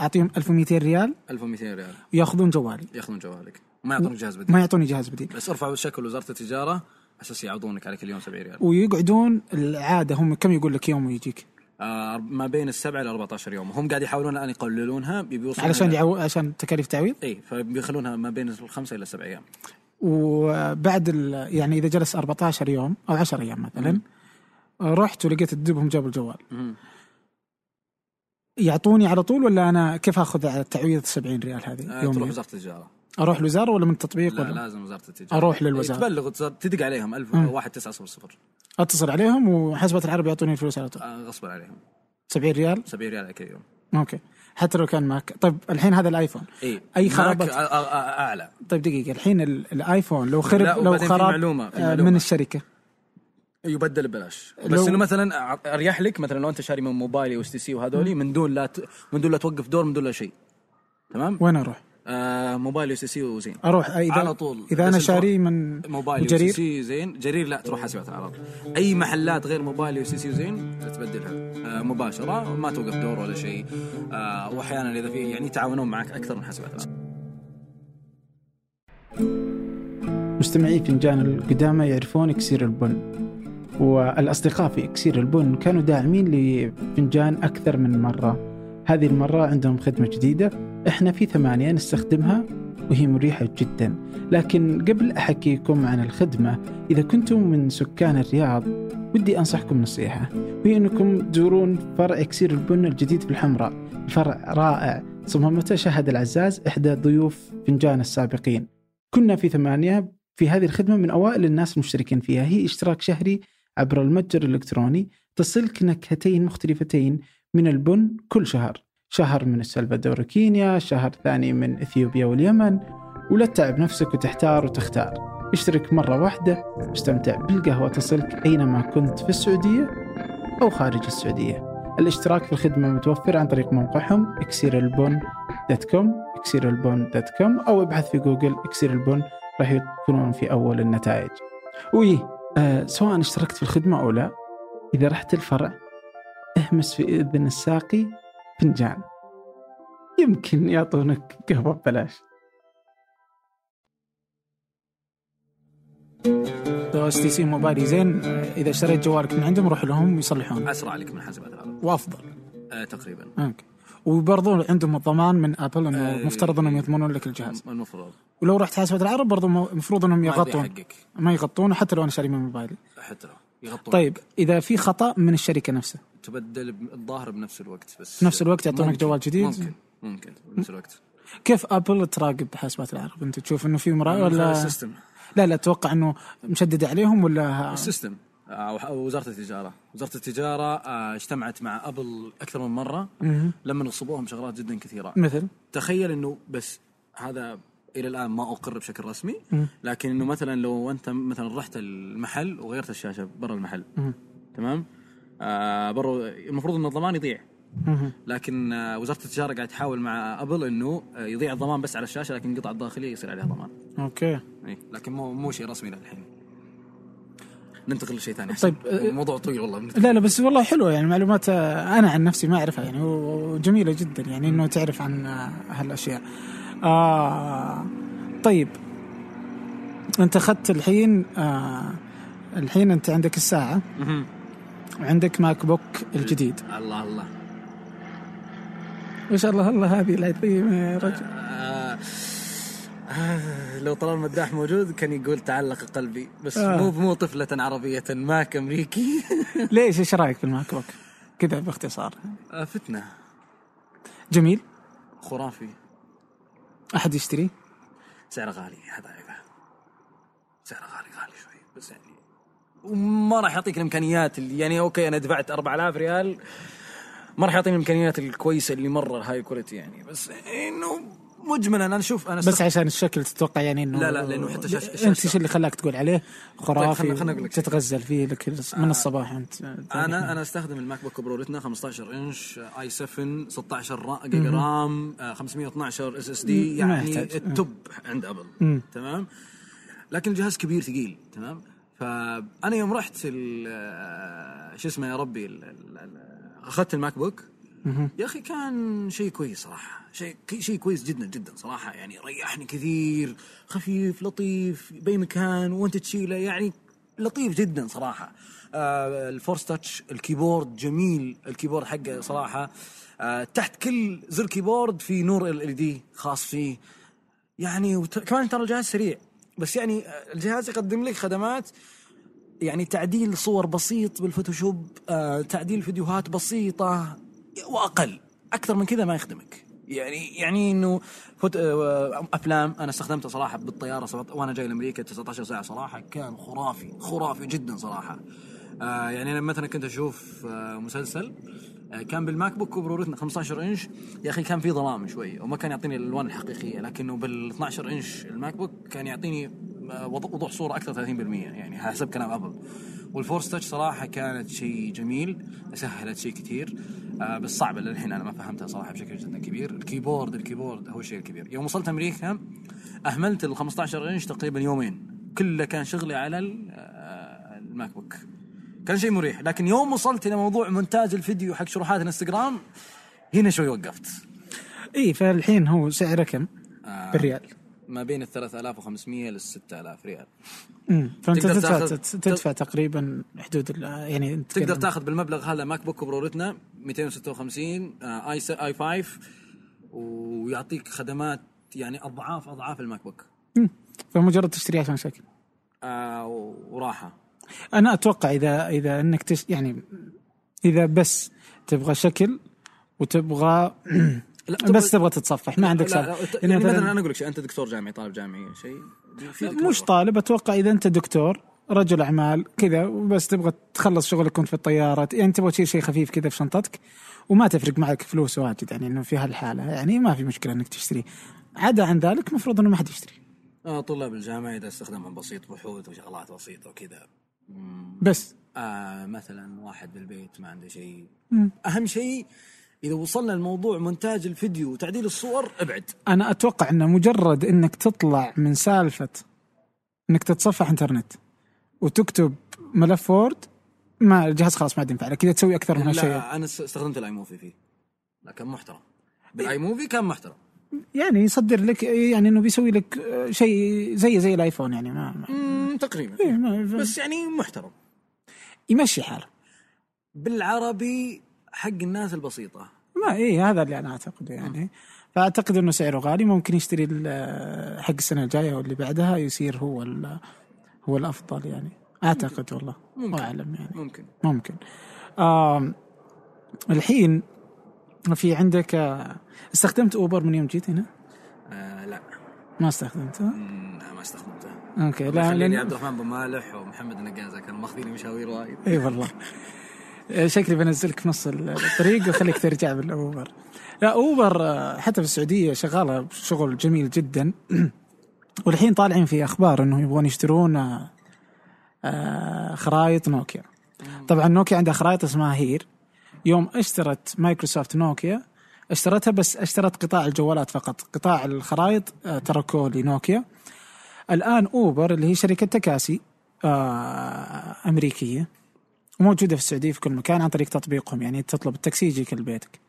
Speaker 1: اعطيهم 1200 ريال
Speaker 2: 1200 ريال
Speaker 1: وياخذون جوالي
Speaker 2: ياخذون جوالك وما يعطونك جهاز بديل
Speaker 1: ما يعطوني جهاز بديل
Speaker 2: بس ارفع شكل وزاره التجاره اساس يعوضونك على كل يوم 70 ريال
Speaker 1: ويقعدون العاده هم كم يقول لك يوم ويجيك
Speaker 2: آه ما بين السبعه الى 14 يوم هم قاعد يحاولون الان يقللونها بيوصلون
Speaker 1: علشان يعو... عشان تكاليف تعويض
Speaker 2: اي فبيخلونها ما بين الخمسه الى سبع ايام
Speaker 1: وبعد ال... يعني اذا جلس 14 يوم او 10 ايام مثلا رحت ولقيت تدبهم جابوا الجوال يعطوني على طول ولا انا كيف اخذ على التعويض 70 ريال هذه
Speaker 2: آه
Speaker 1: يومياً؟
Speaker 2: تروح وزاره التجاره
Speaker 1: اروح الوزاره ولا من التطبيق
Speaker 2: لا
Speaker 1: ولا
Speaker 2: لازم وزاره التجاره
Speaker 1: أروح للوزارة.
Speaker 2: تبلغ وتز- تدق عليهم 1000 1900
Speaker 1: اتصل عليهم وحسبه العرب يعطوني الفلوس على طول
Speaker 2: آه، غصبا عليهم
Speaker 1: 70 ريال
Speaker 2: 70 ريال على كل يوم
Speaker 1: اوكي حتى لو كان معك طيب الحين هذا الايفون
Speaker 2: اي
Speaker 1: اي
Speaker 2: خرابات
Speaker 1: خرابات
Speaker 2: اعلى
Speaker 1: طيب دقيقه الحين ال- الايفون لو خرب
Speaker 2: لا،
Speaker 1: لو
Speaker 2: وبعدين في
Speaker 1: خراب
Speaker 2: معلومة- في
Speaker 1: آه،
Speaker 2: معلومة.
Speaker 1: من الشركه
Speaker 2: يبدل ببلاش بس
Speaker 1: لو-
Speaker 2: انه مثلا أع- اريح لك مثلا لو انت شاري من موبايلي واس تي سي وهذولي من دون لا ت... من دون لا توقف دور من دون لا شيء تمام
Speaker 1: وين اروح؟
Speaker 2: آه موبايلي واس تي سي وزين
Speaker 1: اروح آه، اذا
Speaker 2: على طول.
Speaker 1: اذا انا
Speaker 2: بس تروح-
Speaker 1: شاري من
Speaker 2: موبايلي واس تي
Speaker 1: جرير
Speaker 2: سي زين جرير لا تروح حسبة العرض اي محلات غير موبايلي واس تي سي وزين تبدلها آه مباشره ما توقف دور ولا شيء آه واحيانا اذا في يعني يتعاونون معك اكثر من حسبة العرض
Speaker 1: مستمعي فنجان القدامى يعرفون اكسير البن والاصدقاء في اكسير البن كانوا داعمين لفنجان اكثر من مره هذه المره عندهم خدمه جديده احنا في ثمانيه نستخدمها وهي مريحه جدا لكن قبل احكيكم عن الخدمه اذا كنتم من سكان الرياض ودي انصحكم نصيحه وهي انكم تزورون فرع اكسير البن الجديد في الحمراء فرع رائع صممته شهد العزاز احدى ضيوف فنجان السابقين كنا في ثمانية في هذه الخدمة من أوائل الناس المشتركين فيها هي اشتراك شهري عبر المتجر الإلكتروني تصلك نكهتين مختلفتين من البن كل شهر شهر من السلفادور وكينيا شهر ثاني من إثيوبيا واليمن ولا تتعب نفسك وتحتار وتختار اشترك مرة واحدة واستمتع بالقهوة تصلك أينما كنت في السعودية أو خارج السعودية الاشتراك في الخدمة متوفر عن طريق موقعهم اكسيرالبون دوت كوم اكسير البون دوت كوم او ابحث في جوجل اكسير البون راح يكونون في اول النتائج ويه آه سواء اشتركت في الخدمه او لا اذا رحت الفرع اهمس في اذن الساقي فنجان يمكن يعطونك قهوه ببلاش لو اس تي سي موبايلي زين اذا اشتريت جوالك من عندهم روح لهم يصلحون
Speaker 2: اسرع لك من حسبة العرض
Speaker 1: وافضل
Speaker 2: آه تقريبا
Speaker 1: اوكي وبرضه عندهم الضمان من ابل انه
Speaker 2: أي.
Speaker 1: مفترض انهم يضمنون لك الجهاز
Speaker 2: المفروض
Speaker 1: ولو رحت حاسبه العرب برضه المفروض انهم
Speaker 2: ما يضيع
Speaker 1: يغطون
Speaker 2: حقك
Speaker 1: ما يغطون حتى لو انا شاري من موبايلي
Speaker 2: حتى لو يغطون
Speaker 1: طيب اذا في خطا من الشركه نفسها
Speaker 2: تبدل ب- الظاهر بنفس الوقت بس
Speaker 1: في نفس الوقت يعطونك
Speaker 2: ممكن-
Speaker 1: جوال جديد؟
Speaker 2: ممكن ممكن بنفس الوقت
Speaker 1: كيف ابل تراقب حاسبات العرب انت تشوف انه في مراقبه
Speaker 2: من خلال
Speaker 1: ولا
Speaker 2: السيستم
Speaker 1: لا لا اتوقع انه مشدد عليهم ولا
Speaker 2: السيستم أو آه، أو وزاره التجاره وزاره التجاره آه، اجتمعت مع ابل اكثر من مره
Speaker 1: مهم.
Speaker 2: لما نصبوهم شغلات جدا كثيره
Speaker 1: مثل
Speaker 2: تخيل انه بس هذا الى الان ما اقر بشكل رسمي
Speaker 1: مم.
Speaker 2: لكن انه مثلا لو انت مثلا رحت المحل وغيرت الشاشه برا المحل
Speaker 1: مم.
Speaker 2: تمام آه برا المفروض ان الضمان يضيع
Speaker 1: مهم.
Speaker 2: لكن آه، وزاره التجاره قاعد تحاول مع ابل انه آه، يضيع الضمان بس على الشاشه لكن القطع الداخليه يصير عليها ضمان
Speaker 1: اوكي
Speaker 2: إيه، لكن مو مو شيء رسمي للحين ننتقل لشيء ثاني
Speaker 1: طيب،
Speaker 2: أحسن. موضوع طويل والله بنتكلم.
Speaker 1: لا لا بس والله حلوه يعني معلومات آه، انا عن نفسي ما اعرفها يعني و- وجميله جدا يعني انه تعرف عن آه، هالاشياء. آه طيب انت اخذت الحين آه الحين انت عندك الساعه
Speaker 2: مهم.
Speaker 1: وعندك ماك بوك الجديد
Speaker 2: الله الله
Speaker 1: ما شاء الله الله هذه العظيمه يا رجل
Speaker 2: آه آه لو طلال مداح موجود كان يقول تعلق قلبي بس
Speaker 1: آه.
Speaker 2: مو مو طفلة عربية ماك أمريكي
Speaker 1: ليش ايش رايك بالماك بوك؟ كذا باختصار
Speaker 2: آه فتنة
Speaker 1: جميل
Speaker 2: خرافي
Speaker 1: احد يشتري
Speaker 2: سعره غالي هذا عيبه سعره غالي غالي شوي بس يعني وما راح يعطيك الامكانيات اللي يعني اوكي انا دفعت 4000 ريال ما راح يعطيني الامكانيات الكويسه اللي مره هاي كواليتي يعني بس انه مجملا انا شوف انا
Speaker 1: بس عشان الشكل تتوقع يعني انه
Speaker 2: لا، لا، لأنه حتى شاش-
Speaker 1: انت
Speaker 2: شاشة-
Speaker 1: ايش اللي خلاك تقول عليه خرافي
Speaker 2: طيب، خلنا- خلنا أقول لك آه. شيء.
Speaker 1: تتغزل فيه لك من الصباح انت
Speaker 2: انا انا استخدم الماك بوك برولتنا 15 انش اي 7 16 را- جيجا رام آه، 512 اس اس دي
Speaker 1: مم، ما
Speaker 2: يعني
Speaker 1: يحتاج.
Speaker 2: التوب عند ابل تمام لكن الجهاز كبير ثقيل تمام فانا يوم رحت ال- آه، شو اسمه يا ربي ال- ال- ال- اخذت الماك بوك يا اخي كان شيء كويس صراحه شيء شيء كويس جدا جدا صراحه يعني ريحني كثير خفيف لطيف باي مكان وانت تشيله يعني لطيف جدا صراحه آه الفورس تاتش الكيبورد جميل الكيبورد حقه صراحه آه تحت كل زر كيبورد في نور ال ال دي خاص فيه يعني وت... كمان ترى الجهاز سريع بس يعني آه، الجهاز يقدم لك خدمات يعني تعديل صور بسيط بالفوتوشوب آه، تعديل فيديوهات بسيطة واقل اكثر من كذا ما يخدمك يعني يعني انه فوت آه، افلام انا استخدمتها صراحه بالطياره سبعة- وانا جاي لامريكا 19 ساعه صراحه كان خرافي خرافي جدا صراحه آه يعني انا مثلا كنت اشوف آه مسلسل آه، كان بالماك بوك وبرورتنا 15 انش يا اخي كان في ظلام شوي وما كان يعطيني الالوان الحقيقيه لكنه بال 12 انش الماك بوك كان يعطيني آه، وض- وضوح صوره اكثر 30% يعني حسب كلام ابل والفورس تاتش صراحه كانت شيء جميل سهلت شيء كثير آه، بس صعبه للحين انا ما فهمتها صراحه بشكل جدا كبير الكيبورد الكيبورد هو الشيء الكبير يوم وصلت امريكا اهملت ال 15 انش تقريبا يومين كله كان شغلي على ال- آه، الماك بوك كان شيء مريح لكن يوم وصلت الى موضوع مونتاج الفيديو حق شروحات الانستغرام هنا شوي وقفت
Speaker 1: اي فالحين هو سعره كم؟
Speaker 2: آه،
Speaker 1: بالريال
Speaker 2: ما بين ال 3500 لل 6000 ريال
Speaker 1: امم فانت
Speaker 2: تقدر
Speaker 1: تدفع
Speaker 2: تاخذ-
Speaker 1: تدفع, تدفع تقريبا حدود ال- يعني أنت
Speaker 2: تقدر
Speaker 1: تتكلم-
Speaker 2: تاخذ بالمبلغ هذا ماك بوك برورتنا 256 آه، اي س- اي 5 ويعطيك خدمات يعني اضعاف اضعاف الماك بوك
Speaker 1: مم. فمجرد تشتري عشان شكل
Speaker 2: آه، وراحه
Speaker 1: انا اتوقع اذا اذا انك تش يعني اذا بس تبغى شكل وتبغى
Speaker 2: لا،
Speaker 1: بس
Speaker 2: تبغى-
Speaker 1: تبغى تتصفح ما عندك
Speaker 2: لا، لا،
Speaker 1: سالفه
Speaker 2: يعني
Speaker 1: يعني
Speaker 2: مثلا
Speaker 1: مثلا
Speaker 2: انا اقول لك شيء انت دكتور جامعي طالب جامعي شيء يفيدك
Speaker 1: مش
Speaker 2: مرة.
Speaker 1: طالب اتوقع اذا انت دكتور رجل اعمال كذا وبس تبغى تخلص شغلك وانت في الطياره يعني تبغى تشيل شيء خفيف كذا في شنطتك وما تفرق معك فلوس واجد يعني انه في هالحاله يعني ما في مشكله انك تشتريه عدا عن ذلك مفروض انه ما حد يشتري
Speaker 2: آه، طلاب الجامعه اذا استخدامهم بسيط بحوث وشغلات بسيطه وكذا مم.
Speaker 1: بس
Speaker 2: آه مثلا واحد بالبيت ما عنده شيء
Speaker 1: مم.
Speaker 2: اهم شيء اذا وصلنا لموضوع مونتاج الفيديو وتعديل الصور ابعد
Speaker 1: انا اتوقع انه مجرد انك تطلع من سالفه انك تتصفح انترنت وتكتب ملف وورد ما الجهاز خلاص ما عاد ينفع لك اذا تسوي اكثر من هالشيء
Speaker 2: لا انا استخدمت الاي موفي فيه لا كان محترم
Speaker 1: إيه.
Speaker 2: بالاي موفي كان محترم
Speaker 1: يعني يصدر لك يعني انه بيسوي لك آه، شيء زي زي الايفون يعني ما, ما
Speaker 2: مم، تقريبا
Speaker 1: إيه، ما بس
Speaker 2: بس يعني محترم
Speaker 1: يمشي حاله
Speaker 2: بالعربي حق الناس البسيطه
Speaker 1: ما اي هذا اللي انا اعتقده يعني فاعتقد انه سعره غالي ممكن يشتري ال- حق السنه الجايه واللي بعدها يصير هو ال- هو الافضل يعني اعتقد والله
Speaker 2: ممكن.
Speaker 1: اعلم يعني
Speaker 2: ممكن
Speaker 1: ممكن آم الحين في عندك آه، استخدمت اوبر من يوم جيت هنا؟
Speaker 2: آه لا
Speaker 1: ما استخدمته؟
Speaker 2: مم، لا، ما استخدمته
Speaker 1: اوكي لا
Speaker 2: خليني
Speaker 1: لأن...
Speaker 2: عبد الرحمن بن مالح ومحمد النقازه كانوا ماخذين مشاوير وايد
Speaker 1: اي والله آه، شكلي بنزلك في نص الطريق واخليك ترجع بالاوبر لا اوبر آه، حتى في السعوديه شغاله شغل جميل جدا والحين طالعين في اخبار انهم يبغون يشترون آه، آه، خرائط نوكيا طبعا نوكيا عندها خرائط اسمها هير يوم اشترت مايكروسوفت نوكيا اشترتها بس اشترت قطاع الجوالات فقط قطاع الخرائط آه، تركوه لنوكيا الان اوبر اللي هي شركه تكاسي آه، امريكيه وموجوده في السعوديه في كل مكان عن طريق تطبيقهم يعني تطلب التاكسي يجيك لبيتك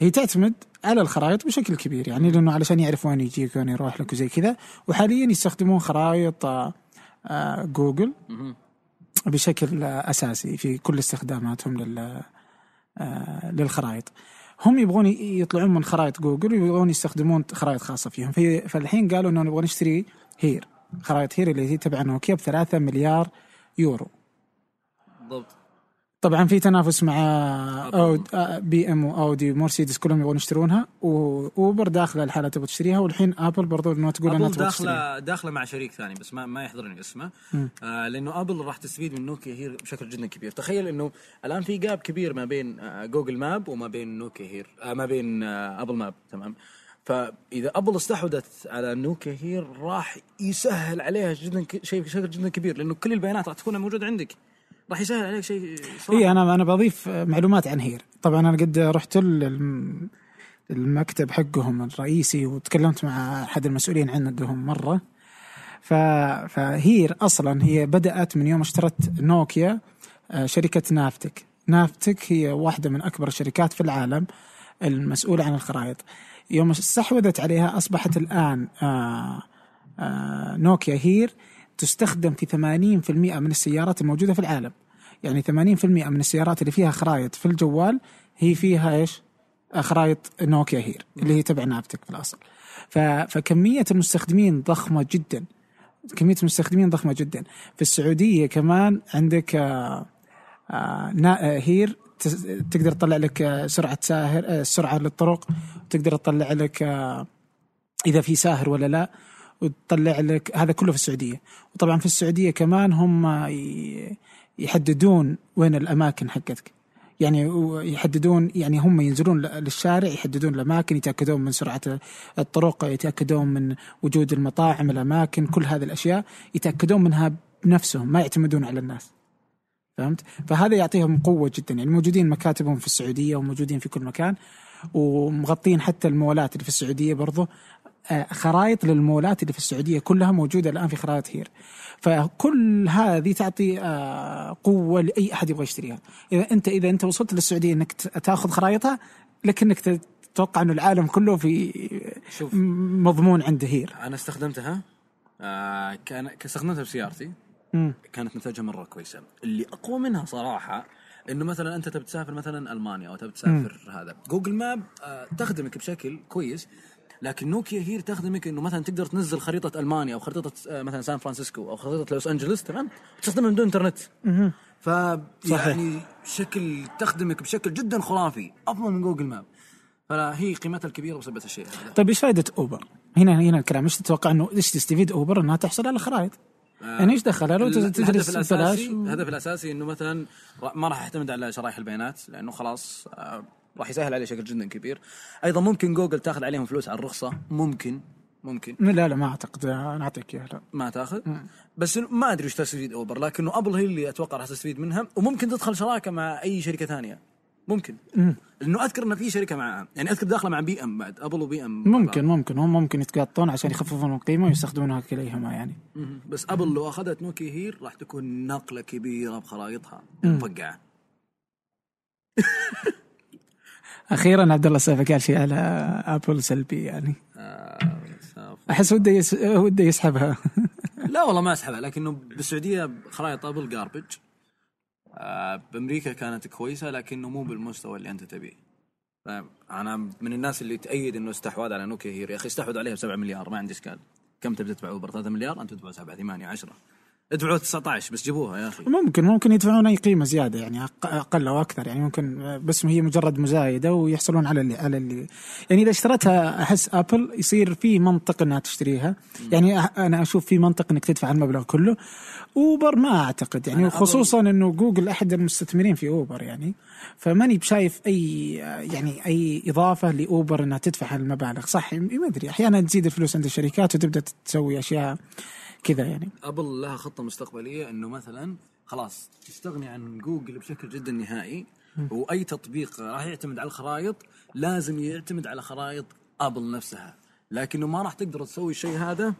Speaker 1: هي تعتمد على الخرائط بشكل كبير يعني لانه علشان يعرف وين يجيك وين يروح لك وزي كذا وحاليا يستخدمون خرائط آه، آه، جوجل
Speaker 2: مهم.
Speaker 1: بشكل آه، اساسي في كل استخداماتهم لل آه، للخرائط هم يبغون ي- يطلعون من خرائط جوجل ويبغون يستخدمون خرائط خاصه فيهم في فالحين قالوا انه نبغى نشتري هير خرائط هير اللي هي تبع نوكيا ب 3 مليار يورو
Speaker 2: بالضبط
Speaker 1: طبعا في تنافس مع
Speaker 2: أبل.
Speaker 1: أود آه، بي ام واودي ومرسيدس كلهم يبغون يشترونها واوبر داخله الحاله تبغى تشتريها والحين ابل برضو انه تقول انها
Speaker 2: ابل
Speaker 1: تبغى تشتريها
Speaker 2: داخله داخله مع شريك ثاني بس ما ما يحضرني اسمه آه لانه ابل راح تستفيد من نوكيا هير بشكل جدا كبير تخيل انه الان في جاب كبير ما بين آه جوجل ماب وما بين نوكيا هير آه ما بين آه ابل ماب تمام فاذا ابل استحوذت على نوكيا هير راح يسهل عليها جدا ك- شيء بشكل جدا كبير لانه كل البيانات راح تكون موجوده عندك راح يسهل عليك شيء صراحة.
Speaker 1: اي انا انا إيه، بضيف معلومات عن هير طبعا انا قد رحت ال- المكتب حقهم الرئيسي وتكلمت مع احد المسؤولين عندهم مره ف... فهير اصلا هي بدات من يوم اشترت نوكيا آه، شركه نافتك نافتك هي واحده من اكبر الشركات في العالم المسؤوله عن الخرائط يوم استحوذت عليها اصبحت الان آه، آه، نوكيا هير تستخدم في 80% من السيارات الموجوده في العالم يعني 80% من السيارات اللي فيها خرائط في الجوال هي فيها ايش؟ آه، خرائط نوكيا هير اللي هي تبع نافتك في الاصل ف... فكميه المستخدمين ضخمه جدا كميه المستخدمين ضخمه جدا في السعوديه كمان عندك آه آه نا- آه، هير تس- تقدر تطلع لك آه، سرعه ساهر آه، السرعه للطرق تقدر تطلع لك آه، اذا في ساهر ولا لا وتطلع لك هذا كله في السعوديه وطبعا في السعوديه كمان هم آه، ي- يحددون وين الاماكن حقتك يعني و- يحددون يعني هم ينزلون ل- للشارع يحددون الاماكن يتاكدون من سرعه الطرق يتاكدون من وجود المطاعم الاماكن كل هذه الاشياء يتاكدون منها بنفسهم ما يعتمدون على الناس فهمت؟ فهذا يعطيهم قوه جدا يعني موجودين مكاتبهم في السعوديه وموجودين في كل مكان ومغطين حتى المولات اللي في السعوديه برضه آه، خرائط للمولات اللي في السعوديه كلها موجوده الان في خرائط هير فكل هذه تعطي آه، قوه لاي احد يبغى يشتريها اذا انت اذا انت وصلت للسعوديه انك ت- تاخذ خرائطها لك انك ت- تتوقع انه العالم كله في
Speaker 2: شوف.
Speaker 1: م- مضمون عند هير
Speaker 2: انا استخدمتها آه كان استخدمتها بسيارتي
Speaker 1: مم.
Speaker 2: كانت نتائجها مره كويسه اللي اقوى منها صراحه انه مثلا انت تبي تسافر مثلا المانيا او تبي تسافر هذا جوجل ماب آه تخدمك بشكل كويس لكن نوكيا هير تخدمك انه مثلا تقدر تنزل خريطه المانيا او خريطه آه، مثلا سان فرانسيسكو او خريطه لوس انجلوس تمام تستخدمها من دون انترنت ف يعني شكل تخدمك بشكل جدا خرافي افضل من جوجل ماب فهي قيمتها الكبيره بسبب الشيء هذا
Speaker 1: طيب ايش فائده اوبر؟ هنا هنا الكلام ايش تتوقع انه ايش تستفيد اوبر انها تحصل على خرائط؟ يعني ايش دخلها لو
Speaker 2: ال-
Speaker 1: تجلس
Speaker 2: الهدف
Speaker 1: ببلاش
Speaker 2: الاساسي
Speaker 1: و-
Speaker 2: الهدف الاساسي انه مثلا ر- ما راح يعتمد على شرائح البيانات لانه خلاص آه، راح يسهل عليه شكل جدا كبير ايضا ممكن جوجل تاخذ عليهم فلوس على الرخصه ممكن ممكن
Speaker 1: لا لا ما اعتقد انا اعطيك اياها لا
Speaker 2: ما تاخذ بس إنه ما ادري وش تستفيد اوبر لكنه ابل هي اللي اتوقع راح تستفيد منها وممكن تدخل شراكه مع اي شركه ثانيه ممكن لانه اذكر ان في شركه معها يعني اذكر داخله مع بي ام بعد ابل وبي ام
Speaker 1: ممكن ممكن هم ممكن يتقاطون عشان يخففون القيمه ويستخدمونها كليهما يعني
Speaker 2: مهم. بس ابل لو اخذت نوكي هير راح تكون نقله كبيره بخرائطها مفقعه
Speaker 1: اخيرا عبد الله السيف قال شيء على ابل سلبي يعني
Speaker 2: آه، سافر.
Speaker 1: احس وده يس... وده يسحبها
Speaker 2: لا والله ما اسحبها لكنه بالسعوديه خرائط ابل جاربج آه بامريكا كانت كويسه لكنه مو بالمستوى اللي انت تبيه فانا من الناس اللي تأيد انه استحواذ على نوكيا هير يا اخي استحوذ عليها ب 7 مليار ما عندي اشكال كم تبي تدفع اوبر 3 مليار انت تدفع 7 8 10 ادفعوا 19 بس جيبوها يا اخي
Speaker 1: ممكن ممكن يدفعون اي قيمه زياده يعني أق- اقل او اكثر يعني ممكن بس هي مجرد مزايده ويحصلون على اللي على اللي يعني اذا اشتريتها احس ابل يصير في منطق انها تشتريها يعني أح- انا اشوف في منطق انك تدفع المبلغ كله اوبر ما اعتقد يعني خصوصا انه جوجل احد المستثمرين في اوبر يعني فماني بشايف اي يعني اي اضافه لاوبر انها تدفع هالمبالغ صح ما ادري احيانا تزيد الفلوس عند الشركات وتبدا تسوي اشياء كذا يعني
Speaker 2: ابل لها خطه مستقبليه انه مثلا خلاص تستغني عن جوجل بشكل جدا نهائي واي تطبيق راح يعتمد على الخرائط لازم يعتمد على خرائط ابل نفسها لكنه ما راح تقدر تسوي الشيء هذا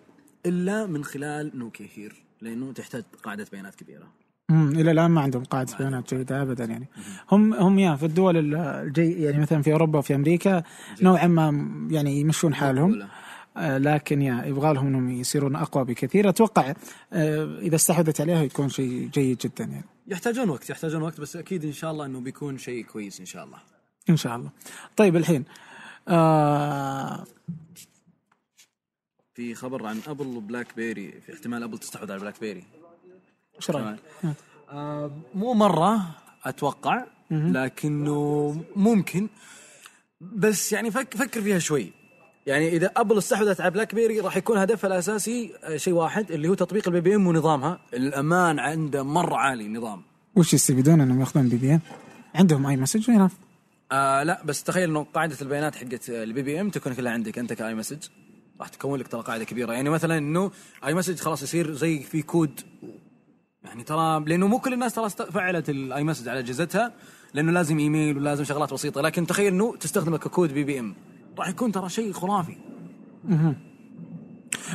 Speaker 2: الا من خلال نوكيا هير لانه تحتاج قاعده بيانات كبيره
Speaker 1: امم الى الان ما عندهم قاعده بيانات جيده ابدا يعني هم هم يا في الدول ال- الجي يعني مثلا في اوروبا وفي امريكا نوعا ما م- يعني يمشون حالهم
Speaker 2: مقبولة.
Speaker 1: آه، لكن يا يبغى لهم انهم يصيرون اقوى بكثير اتوقع آه، اذا استحوذت عليها يكون شيء جيد جدا يعني
Speaker 2: يحتاجون وقت يحتاجون وقت بس اكيد ان شاء الله انه بيكون شيء كويس ان شاء الله
Speaker 1: ان شاء الله طيب الحين آه
Speaker 2: في خبر عن ابل وبلاك بيري في احتمال ابل تستحوذ على بلاك بيري
Speaker 1: ايش رايك؟
Speaker 2: آه، مو مره اتوقع لكنه ممكن بس يعني فك فكر فيها شوي يعني اذا ابل استحوذت على بلاك بيري راح يكون هدفها الاساسي آه، شيء واحد اللي هو تطبيق البي بي ام ونظامها الامان عنده مره عالي النظام
Speaker 1: وش يستفيدون انهم ياخذون بي بي ام؟ عندهم اي مسج وين
Speaker 2: آه لا بس تخيل انه قاعده البيانات حقت البي بي ام تكون كلها عندك انت كاي مسج راح تكون لك ترى قاعده كبيره يعني مثلا انه اي مسج خلاص يصير زي في كود يعني ترى لانه مو كل الناس ترى است- فعلت الاي مسج على اجهزتها لانه لازم ايميل ولازم شغلات بسيطه لكن تخيل انه تستخدمه ككود بي بي ام راح يكون ترى شيء خرافي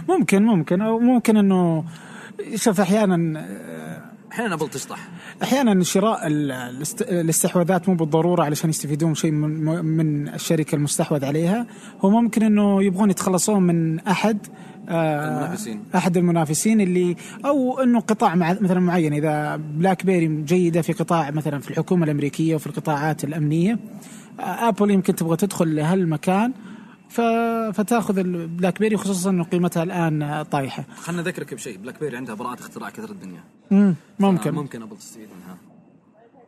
Speaker 1: ممكن ممكن او ممكن انه شوف احيانا آه،
Speaker 2: احيانا ابل تشطح
Speaker 1: احيانا شراء ال- الاست- الاستحواذات مو بالضروره علشان يستفيدون شيء من, من الشركه المستحوذ عليها هو ممكن انه يبغون يتخلصون من احد آه،
Speaker 2: المنافسين.
Speaker 1: احد المنافسين اللي او انه قطاع مع مثلا معين اذا بلاك بيري جيده في قطاع مثلا في الحكومه الامريكيه وفي القطاعات الامنيه آه، ابل يمكن تبغى تدخل لهالمكان ف- فتاخذ البلاك بيري خصوصا انه قيمتها الان آه، طايحه
Speaker 2: خلنا اذكرك بشيء بلاك بيري عندها براءه اختراع كثر الدنيا
Speaker 1: مم،
Speaker 2: آه،
Speaker 1: ممكن
Speaker 2: ممكن ابل تستفيد منها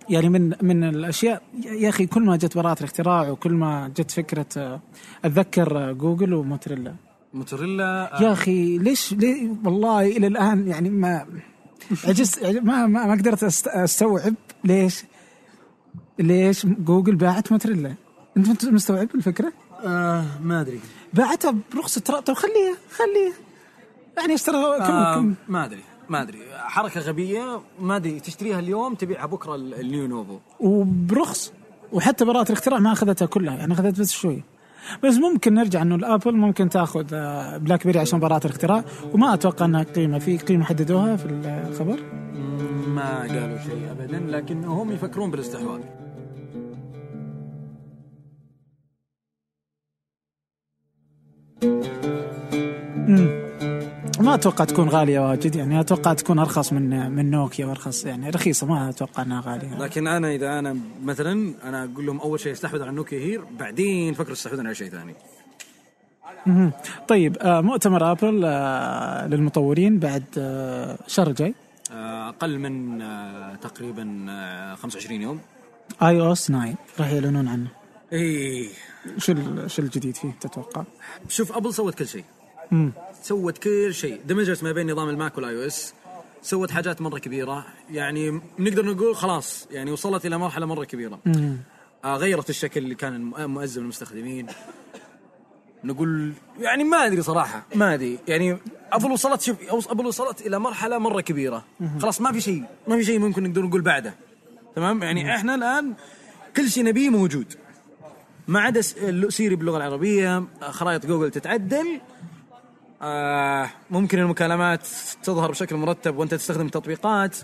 Speaker 1: يعني من من الاشياء يا اخي كل ما جت براءه الاختراع وكل ما جت فكره آه، اتذكر آه، جوجل وموتريلا
Speaker 2: موتوريلا
Speaker 1: يا اخي ليش ليه والله الى الان يعني ما عجزت عج- ما ما, ما قدرت أست- استوعب ليش ليش جوجل باعت موتريلا انت مت- مستوعب الفكره؟
Speaker 2: آه ما ادري
Speaker 1: باعتها برخص ترى طب خليها خليها يعني اشترى كم
Speaker 2: آه
Speaker 1: كم
Speaker 2: ما ادري ما ادري حركه غبيه ما ادري تشتريها اليوم تبيعها بكره ال- النيو نوفو
Speaker 1: وبرخص وحتى براءة الاختراع ما اخذتها كلها يعني اخذت بس شوي بس ممكن نرجع انه الابل ممكن تاخذ آه، بلاك بيري عشان براءة الاختراع وما اتوقع انها قيمة في قيمة حددوها في الخبر
Speaker 2: ما قالوا شيء ابدا لكن هم يفكرون بالاستحواذ
Speaker 1: ما اتوقع تكون غالية واجد يعني اتوقع تكون ارخص من من نوكيا وارخص يعني رخيصة ما اتوقع انها غالية
Speaker 2: لكن انا اذا انا مثلا انا اقول لهم اول شيء استحوذ على نوكيا هير بعدين فكروا يستحوذون على شيء ثاني
Speaker 1: مهم. طيب آه، مؤتمر ابل آه، للمطورين بعد آه، شهر جاي
Speaker 2: آه، اقل من آه، تقريبا آه، 25 يوم
Speaker 1: اي او اس 9 راح يعلنون عنه
Speaker 2: ايه
Speaker 1: شو ال- شو الجديد فيه تتوقع؟
Speaker 2: شوف ابل سوت كل شيء
Speaker 1: مم.
Speaker 2: سوت كل شيء دمجت ما بين نظام الماك والاي او اس سوت حاجات مره كبيره يعني نقدر نقول خلاص يعني وصلت الى مرحله مره كبيره
Speaker 1: مم.
Speaker 2: آه غيرت الشكل اللي كان الم- مؤزم للمستخدمين نقول يعني ما ادري صراحه ما ادري يعني ابل وصلت شوف أوص- ابل وصلت الى مرحله مره كبيره خلاص ما في شيء ما في شيء ممكن نقدر نقول بعده تمام يعني احنا الان كل شيء نبيه موجود ما عدا س- ال- سيري باللغه العربيه آه، خرائط جوجل تتعدل آه ممكن المكالمات تظهر بشكل مرتب وانت تستخدم التطبيقات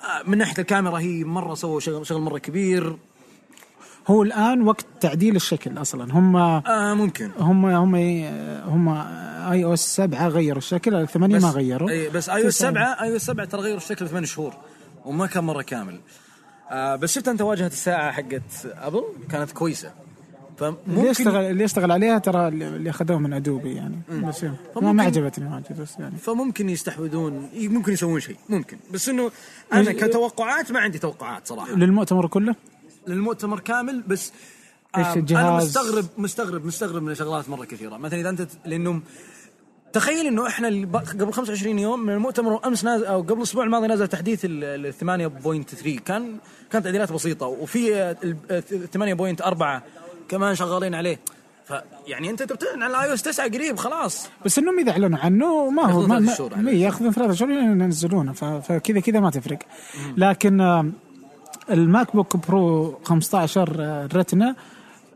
Speaker 2: آه من ناحيه الكاميرا هي مره سووا شغل, شغل مره كبير
Speaker 1: هو الان وقت تعديل الشكل اصلا هم
Speaker 2: آه ممكن
Speaker 1: هم هم هم اي او اس 7 غيروا الشكل الثمانية ما غيروا
Speaker 2: اي بس اي اس 7 اي اس 7 ترى غيروا الشكل ثمان شهور وما كان مره كامل آه بس شفت انت واجهه الساعه حقت ابل كانت كويسه
Speaker 1: اللي
Speaker 2: فممكن
Speaker 1: يشتغل اللي يشتغل عليها ترى اللي اخذوه من ادوبي يعني بس يلا. ما,
Speaker 2: فممكن-
Speaker 1: ما عجبتني واجد بس يعني
Speaker 2: فممكن يستحوذون ممكن يسوون شيء ممكن بس انه انا كتوقعات ما عندي توقعات صراحه
Speaker 1: للمؤتمر كله
Speaker 2: للمؤتمر كامل بس
Speaker 1: إيش
Speaker 2: آه، انا
Speaker 1: الجهاز؟
Speaker 2: مستغرب مستغرب مستغرب من شغلات مره كثيره مثلا اذا انت لانه تخيل انه احنا اللي ب- قبل 25 يوم من المؤتمر وامس نازل او قبل الاسبوع الماضي نزل تحديث ال- ال 8.3 كان كانت تعديلات بسيطه وفي آه، ال- آه، 8.4 كمان شغالين عليه فيعني انت تبتعد عن الاي اس 9 قريب خلاص
Speaker 1: بس انهم اذا اعلنوا عنه ما هو
Speaker 2: ياخذون
Speaker 1: ما
Speaker 2: ثلاث
Speaker 1: ما-
Speaker 2: شهور
Speaker 1: ما
Speaker 2: عليه.
Speaker 1: ياخذون ثلاثة شهور لين ينزلونه ف- فكذا كذا ما تفرق لكن آه، الماك بوك برو 15 آه، رتنا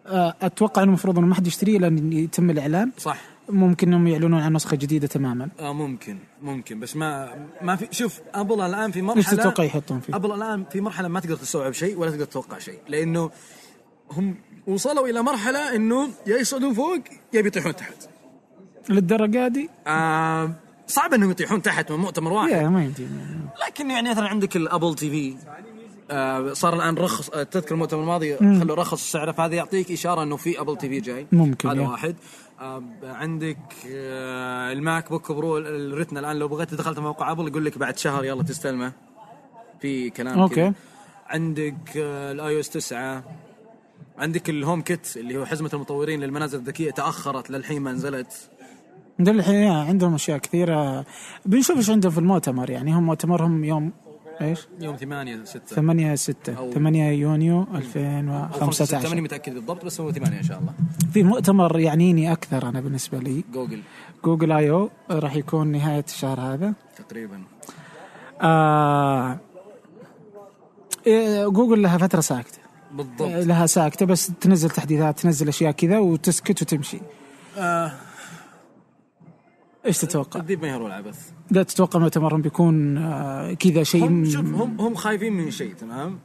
Speaker 1: آه، اتوقع انه المفروض انه ما حد يشتريه لان يتم الاعلان
Speaker 2: صح
Speaker 1: ممكن انهم يعلنون عن نسخه جديده تماما
Speaker 2: آه ممكن ممكن بس ما ما في شوف ابل الان في مرحله
Speaker 1: ايش تتوقع يحطون فيه؟
Speaker 2: ابل الان في مرحله ما تقدر تستوعب شيء ولا تقدر تتوقع شيء لانه هم وصلوا الى مرحله انه يا يصعدون فوق يا بيطيحون تحت
Speaker 1: للدرجه دي؟
Speaker 2: آه صعب انهم يطيحون تحت من مؤتمر واحد
Speaker 1: يا ما يمدي
Speaker 2: لكن يعني مثلا عندك الابل تي في آه صار الان رخص آه، تذكر المؤتمر الماضي خلوا رخص سعره فهذا يعطيك اشاره انه في ابل تي في جاي
Speaker 1: ممكن، إيه.
Speaker 2: هذا
Speaker 1: يا.
Speaker 2: واحد آه عندك آه الماك بوك برو الرتنا الان لو بغيت دخلت موقع ابل يقول لك بعد شهر يلا تستلمه في كلام
Speaker 1: أوكي.
Speaker 2: كذا. عندك آه الاي او اس 9 عندك الهوم كيت اللي هو حزمه المطورين للمنازل الذكيه تاخرت للحين ما نزلت
Speaker 1: الحين يعني عندهم اشياء كثيره بنشوف ايش عندهم في المؤتمر يعني هم مؤتمرهم يوم ايش؟
Speaker 2: يوم 8 6
Speaker 1: 8 6
Speaker 2: أو-
Speaker 1: 8 يونيو
Speaker 2: او 5 6 ماني
Speaker 1: 2015
Speaker 2: متاكد بالضبط بس هو 8 ان شاء الله
Speaker 1: في مؤتمر يعنيني اكثر انا بالنسبه لي
Speaker 2: جوجل
Speaker 1: جوجل اي او راح يكون نهايه الشهر هذا
Speaker 2: تقريبا
Speaker 1: آه إيه، جوجل لها فتره ساكته
Speaker 2: بالضبط
Speaker 1: لها ساكته بس تنزل تحديثات تنزل اشياء كذا وتسكت وتمشي
Speaker 2: آه
Speaker 1: ايش تتوقع؟
Speaker 2: الذيب ما يهرو العبث
Speaker 1: لا تتوقع مؤتمرهم بيكون آه، كذا شيء
Speaker 2: هم
Speaker 1: م-
Speaker 2: شوف هم هم خايفين من شيء تمام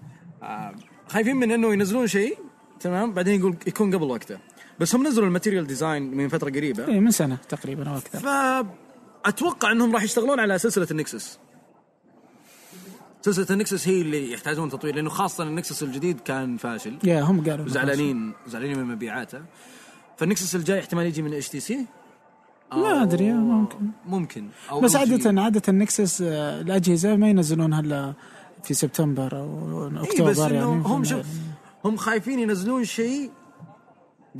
Speaker 2: آه خايفين من انه ينزلون شيء تمام بعدين يقول يكون قبل وقته بس هم نزلوا الماتيريال ديزاين من فتره قريبه
Speaker 1: إيه، من سنه تقريبا او اكثر
Speaker 2: فاتوقع انهم راح يشتغلون على سلسله النكسس سلسله النكسس هي اللي يحتاجون تطوير لانه خاصه النكسس الجديد كان فاشل
Speaker 1: يا هم قالوا
Speaker 2: زعلانين زعلانين من مبيعاته فالنكسس الجاي احتمال يجي من اتش تي سي
Speaker 1: ما ادري ممكن
Speaker 2: ممكن أو
Speaker 1: بس
Speaker 2: LG.
Speaker 1: عاده عاده النكسس آه، الاجهزه ما ينزلونها الا في سبتمبر او
Speaker 2: اي إيه، بس
Speaker 1: اكتوبر
Speaker 2: انه
Speaker 1: يعني
Speaker 2: هم شوف هم خايفين ينزلون شيء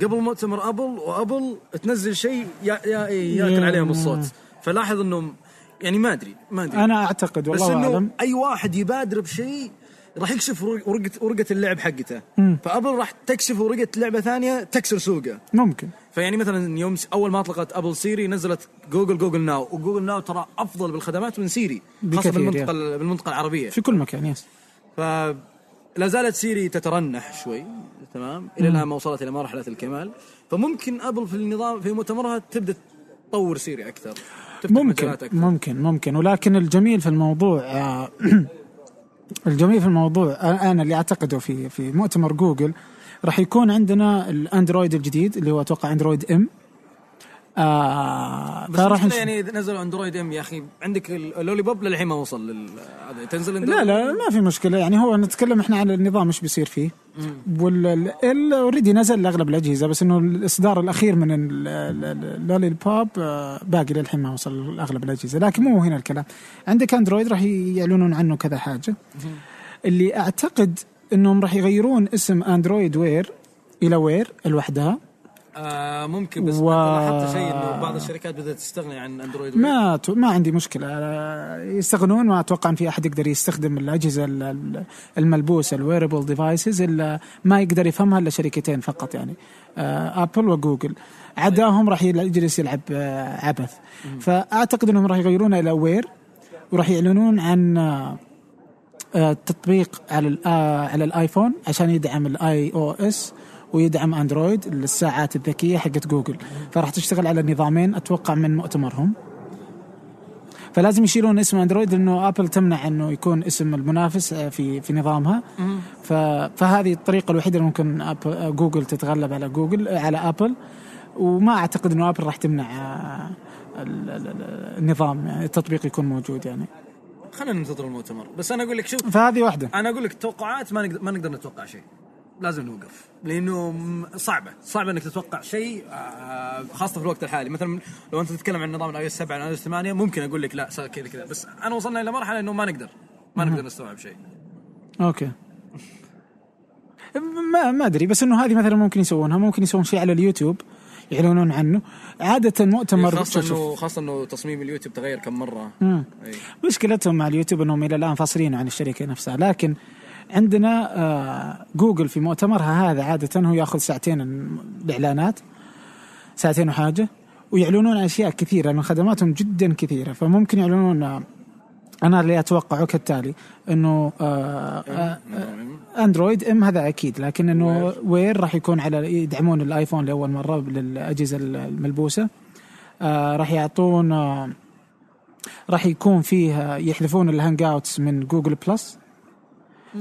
Speaker 2: قبل مؤتمر ابل وابل تنزل شيء يا يا إيه، ياكل
Speaker 1: يا-
Speaker 2: عليهم الصوت فلاحظ انهم يعني ما ادري ما ادري
Speaker 1: انا اعتقد
Speaker 2: بس
Speaker 1: والله
Speaker 2: انه
Speaker 1: اعلم
Speaker 2: اي واحد يبادر بشيء راح يكشف ورق- ورقه ورقه اللعب حقته فابل راح تكشف ورقه لعبه ثانيه تكسر سوقه
Speaker 1: ممكن
Speaker 2: فيعني مثلا يوم س- اول ما اطلقت ابل سيري نزلت جوجل جوجل ناو وجوجل ناو ترى افضل بالخدمات من سيري خاصه
Speaker 1: بكثير،
Speaker 2: بالمنطقه
Speaker 1: يا.
Speaker 2: ال- بالمنطقه العربيه
Speaker 1: في كل مكان يس
Speaker 2: ف لا زالت سيري تترنح شوي تمام الى الان ما وصلت الى مرحله الكمال فممكن ابل في النظام في مؤتمرها تبدا تطور سيري اكثر تفتح
Speaker 1: ممكن
Speaker 2: مجالات اكثر
Speaker 1: ممكن ممكن ولكن الجميل في الموضوع آه، الجميل في الموضوع آه، انا اللي اعتقده في في مؤتمر جوجل راح يكون عندنا الاندرويد الجديد اللي هو اتوقع اندرويد ام آه
Speaker 2: بس
Speaker 1: فراح
Speaker 2: المشكله
Speaker 1: نشوف
Speaker 2: يعني اذا نزلوا اندرويد ام يا اخي عندك ال- اللولي بوب للحين ما وصل لل... هذا تنزل
Speaker 1: لا
Speaker 2: اندرويد
Speaker 1: لا ما في مشكله يعني هو نتكلم احنا عن النظام ايش بيصير فيه وال اوريدي نزل لاغلب الاجهزه بس انه الاصدار الاخير من اللولي بوب آه، باقي للحين ما وصل لاغلب الاجهزه لكن مو هنا الكلام عندك اندرويد راح يعلنون عنه كذا حاجه اللي اعتقد انهم راح يغيرون اسم اندرويد وير الى وير لوحدها
Speaker 2: آه ممكن بس
Speaker 1: و-
Speaker 2: أنا لاحظت شيء انه بعض الشركات بدات تستغني عن اندرويد وير.
Speaker 1: ما ت- ما عندي مشكله آه، يستغنون ما اتوقع ان في احد يقدر يستخدم الاجهزه ال- ال- الملبوسه الويربل ديفايسز الا ما يقدر يفهمها الا شركتين فقط يعني آه، ابل وجوجل عداهم راح يل- يجلس يلعب آه، عبث فاعتقد انهم راح يغيرونها الى وير وراح يعلنون عن آه، آه، تطبيق على ال- آه، على الايفون عشان يدعم الاي او اس ويدعم اندرويد الساعات الذكيه حقت جوجل فراح تشتغل على النظامين اتوقع من مؤتمرهم فلازم يشيلون اسم اندرويد لانه ابل تمنع انه يكون اسم المنافس آه، في في نظامها ف- فهذه الطريقه الوحيده اللي ممكن أب- آه، جوجل تتغلب على جوجل آه، على ابل وما اعتقد انه ابل راح تمنع آه، ال- ال- ال- النظام يعني التطبيق يكون موجود يعني
Speaker 2: خلينا ننتظر المؤتمر بس انا اقول لك شوف
Speaker 1: فهذه واحده
Speaker 2: انا اقول لك توقعات ما نقدر ما نقدر نتوقع شيء لازم نوقف لانه م- صعبه صعبه انك تتوقع شيء آه، خاصه في الوقت الحالي مثلا لو انت تتكلم عن نظام الاي اس 7 والاي اس 8 ممكن اقول لك لا صار كذا كذا بس انا وصلنا الى مرحله انه ما نقدر ما نقدر نستوعب شيء
Speaker 1: اوكي ما ما ادري بس انه هذه مثلا ممكن يسوونها ممكن يسوون شيء على اليوتيوب يعلنون عنه عاده مؤتمر
Speaker 2: خاصه انه خاصه انه تصميم اليوتيوب تغير كم مره
Speaker 1: مم.
Speaker 2: إي.
Speaker 1: مشكلتهم مع اليوتيوب انهم الى الان فاصلين عن الشركه نفسها لكن عندنا آه، جوجل في مؤتمرها هذا عاده هو ياخذ ساعتين الم- الاعلانات ساعتين وحاجه ويعلنون عن اشياء كثيره من خدماتهم جدا كثيره فممكن يعلنون آه، انا اللي اتوقعه كالتالي انه آه، آه،
Speaker 2: نظام.
Speaker 1: اندرويد ام هذا اكيد لكن انه وير راح يكون على يدعمون الايفون لاول مره للاجهزه الملبوسه آه راح يعطون آه راح يكون فيه آه، يحذفون الهانج اوتس من جوجل بلس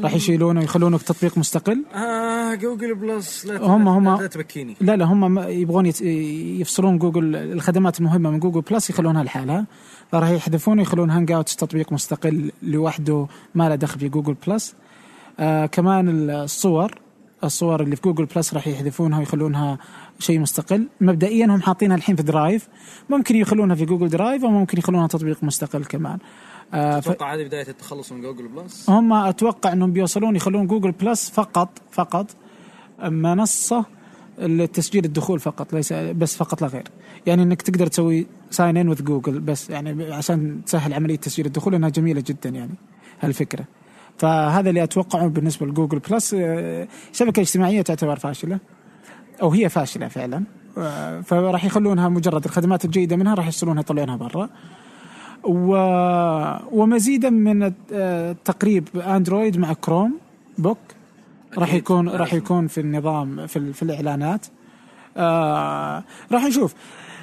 Speaker 1: راح يشيلونه ويخلونه تطبيق مستقل
Speaker 2: آه جوجل بلس لا ت-
Speaker 1: هم- هم-
Speaker 2: لا تبكيني
Speaker 1: لا لا هم ما- يبغون يت- يفصلون جوجل الخدمات المهمه من جوجل بلس يخلونها لحالها راح يحذفون ويخلون هانج اوتس تطبيق مستقل لوحده ما له دخل في جوجل بلس آه كمان الصور الصور اللي في جوجل بلس راح يحذفونها ويخلونها شيء مستقل مبدئيا هم حاطينها الحين في درايف ممكن يخلونها في جوجل درايف او ممكن يخلونها تطبيق مستقل كمان آه ف-
Speaker 2: اتوقع هذه بدايه التخلص من جوجل بلس
Speaker 1: هم اتوقع انهم بيوصلون يخلون جوجل بلس فقط فقط منصه لتسجيل الدخول فقط ليس بس فقط لا غير يعني انك تقدر تسوي ساين ان وذ جوجل بس يعني عشان تسهل عمليه تسجيل الدخول انها جميله جدا يعني هالفكره فهذا اللي اتوقعه بالنسبه لجوجل بلس آه، شبكه اجتماعيه تعتبر فاشله او هي فاشله فعلا آه، فراح يخلونها مجرد الخدمات الجيده منها راح يحصلونها يطلعونها برا و... ومزيدا من الت- آه، تقريب اندرويد مع كروم بوك راح
Speaker 2: أكيد،
Speaker 1: يكون
Speaker 2: لازم.
Speaker 1: راح يكون في النظام في, ال... في الاعلانات آه... راح نشوف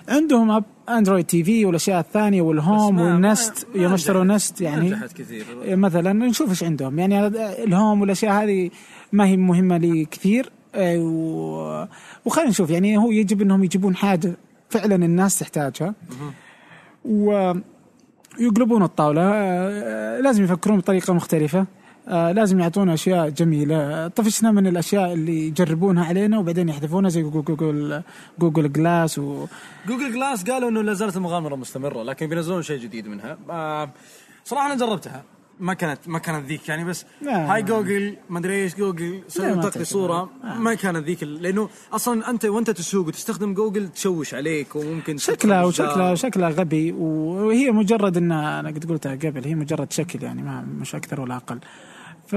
Speaker 1: عندهم أب... اندرويد تي في والاشياء الثانيه والهوم
Speaker 2: بس ما-
Speaker 1: والنست
Speaker 2: ما- ما
Speaker 1: يوم اشتروا
Speaker 2: نجحت-
Speaker 1: نست
Speaker 2: ما
Speaker 1: يعني
Speaker 2: نجحت كثير
Speaker 1: مثلا نشوف ايش عندهم يعني هذا- الهوم والاشياء هذه ما هي مهمه لي كثير آه، و... وخلينا نشوف يعني هو يجب انهم يجيبون حاجه فعلا الناس تحتاجها و يقلبون الطاوله آه، لازم يفكرون بطريقه مختلفه آه، لازم يعطونا اشياء جميله طفشنا من الاشياء اللي يجربونها علينا وبعدين يحذفونها زي جوجل جوجل جلاس و...
Speaker 2: جوجل جلاس قالوا انه لا زالت المغامره مستمره لكن بينزلون شيء جديد منها آه، صراحه انا جربتها ما كانت ما كانت ذيك يعني بس
Speaker 1: لا.
Speaker 2: هاي جوجل ما ادري ايش جوجل
Speaker 1: لا، ما آه.
Speaker 2: سوي لي
Speaker 1: تعتبر.
Speaker 2: صوره ما كانت ذيك ال- لانه اصلا انت وانت تسوق وتستخدم جوجل تشوش عليك وممكن
Speaker 1: شكلها
Speaker 2: تدخل
Speaker 1: وشكلها شكلها غبي وهي مجرد انها انا قد قلتها قبل هي مجرد شكل يعني ما مش اكثر ولا اقل. ف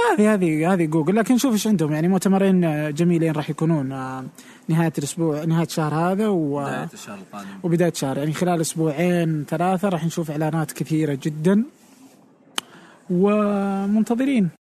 Speaker 1: هذه هذه هذه جوجل لكن شوف ايش عندهم يعني مؤتمرين جميلين راح يكونون آه، نهايه الاسبوع نهايه الشهر هذا و
Speaker 2: بداية الشهر القادم
Speaker 1: وبدايه شهر يعني خلال اسبوعين ثلاثه راح نشوف اعلانات كثيره جدا ومنتظرين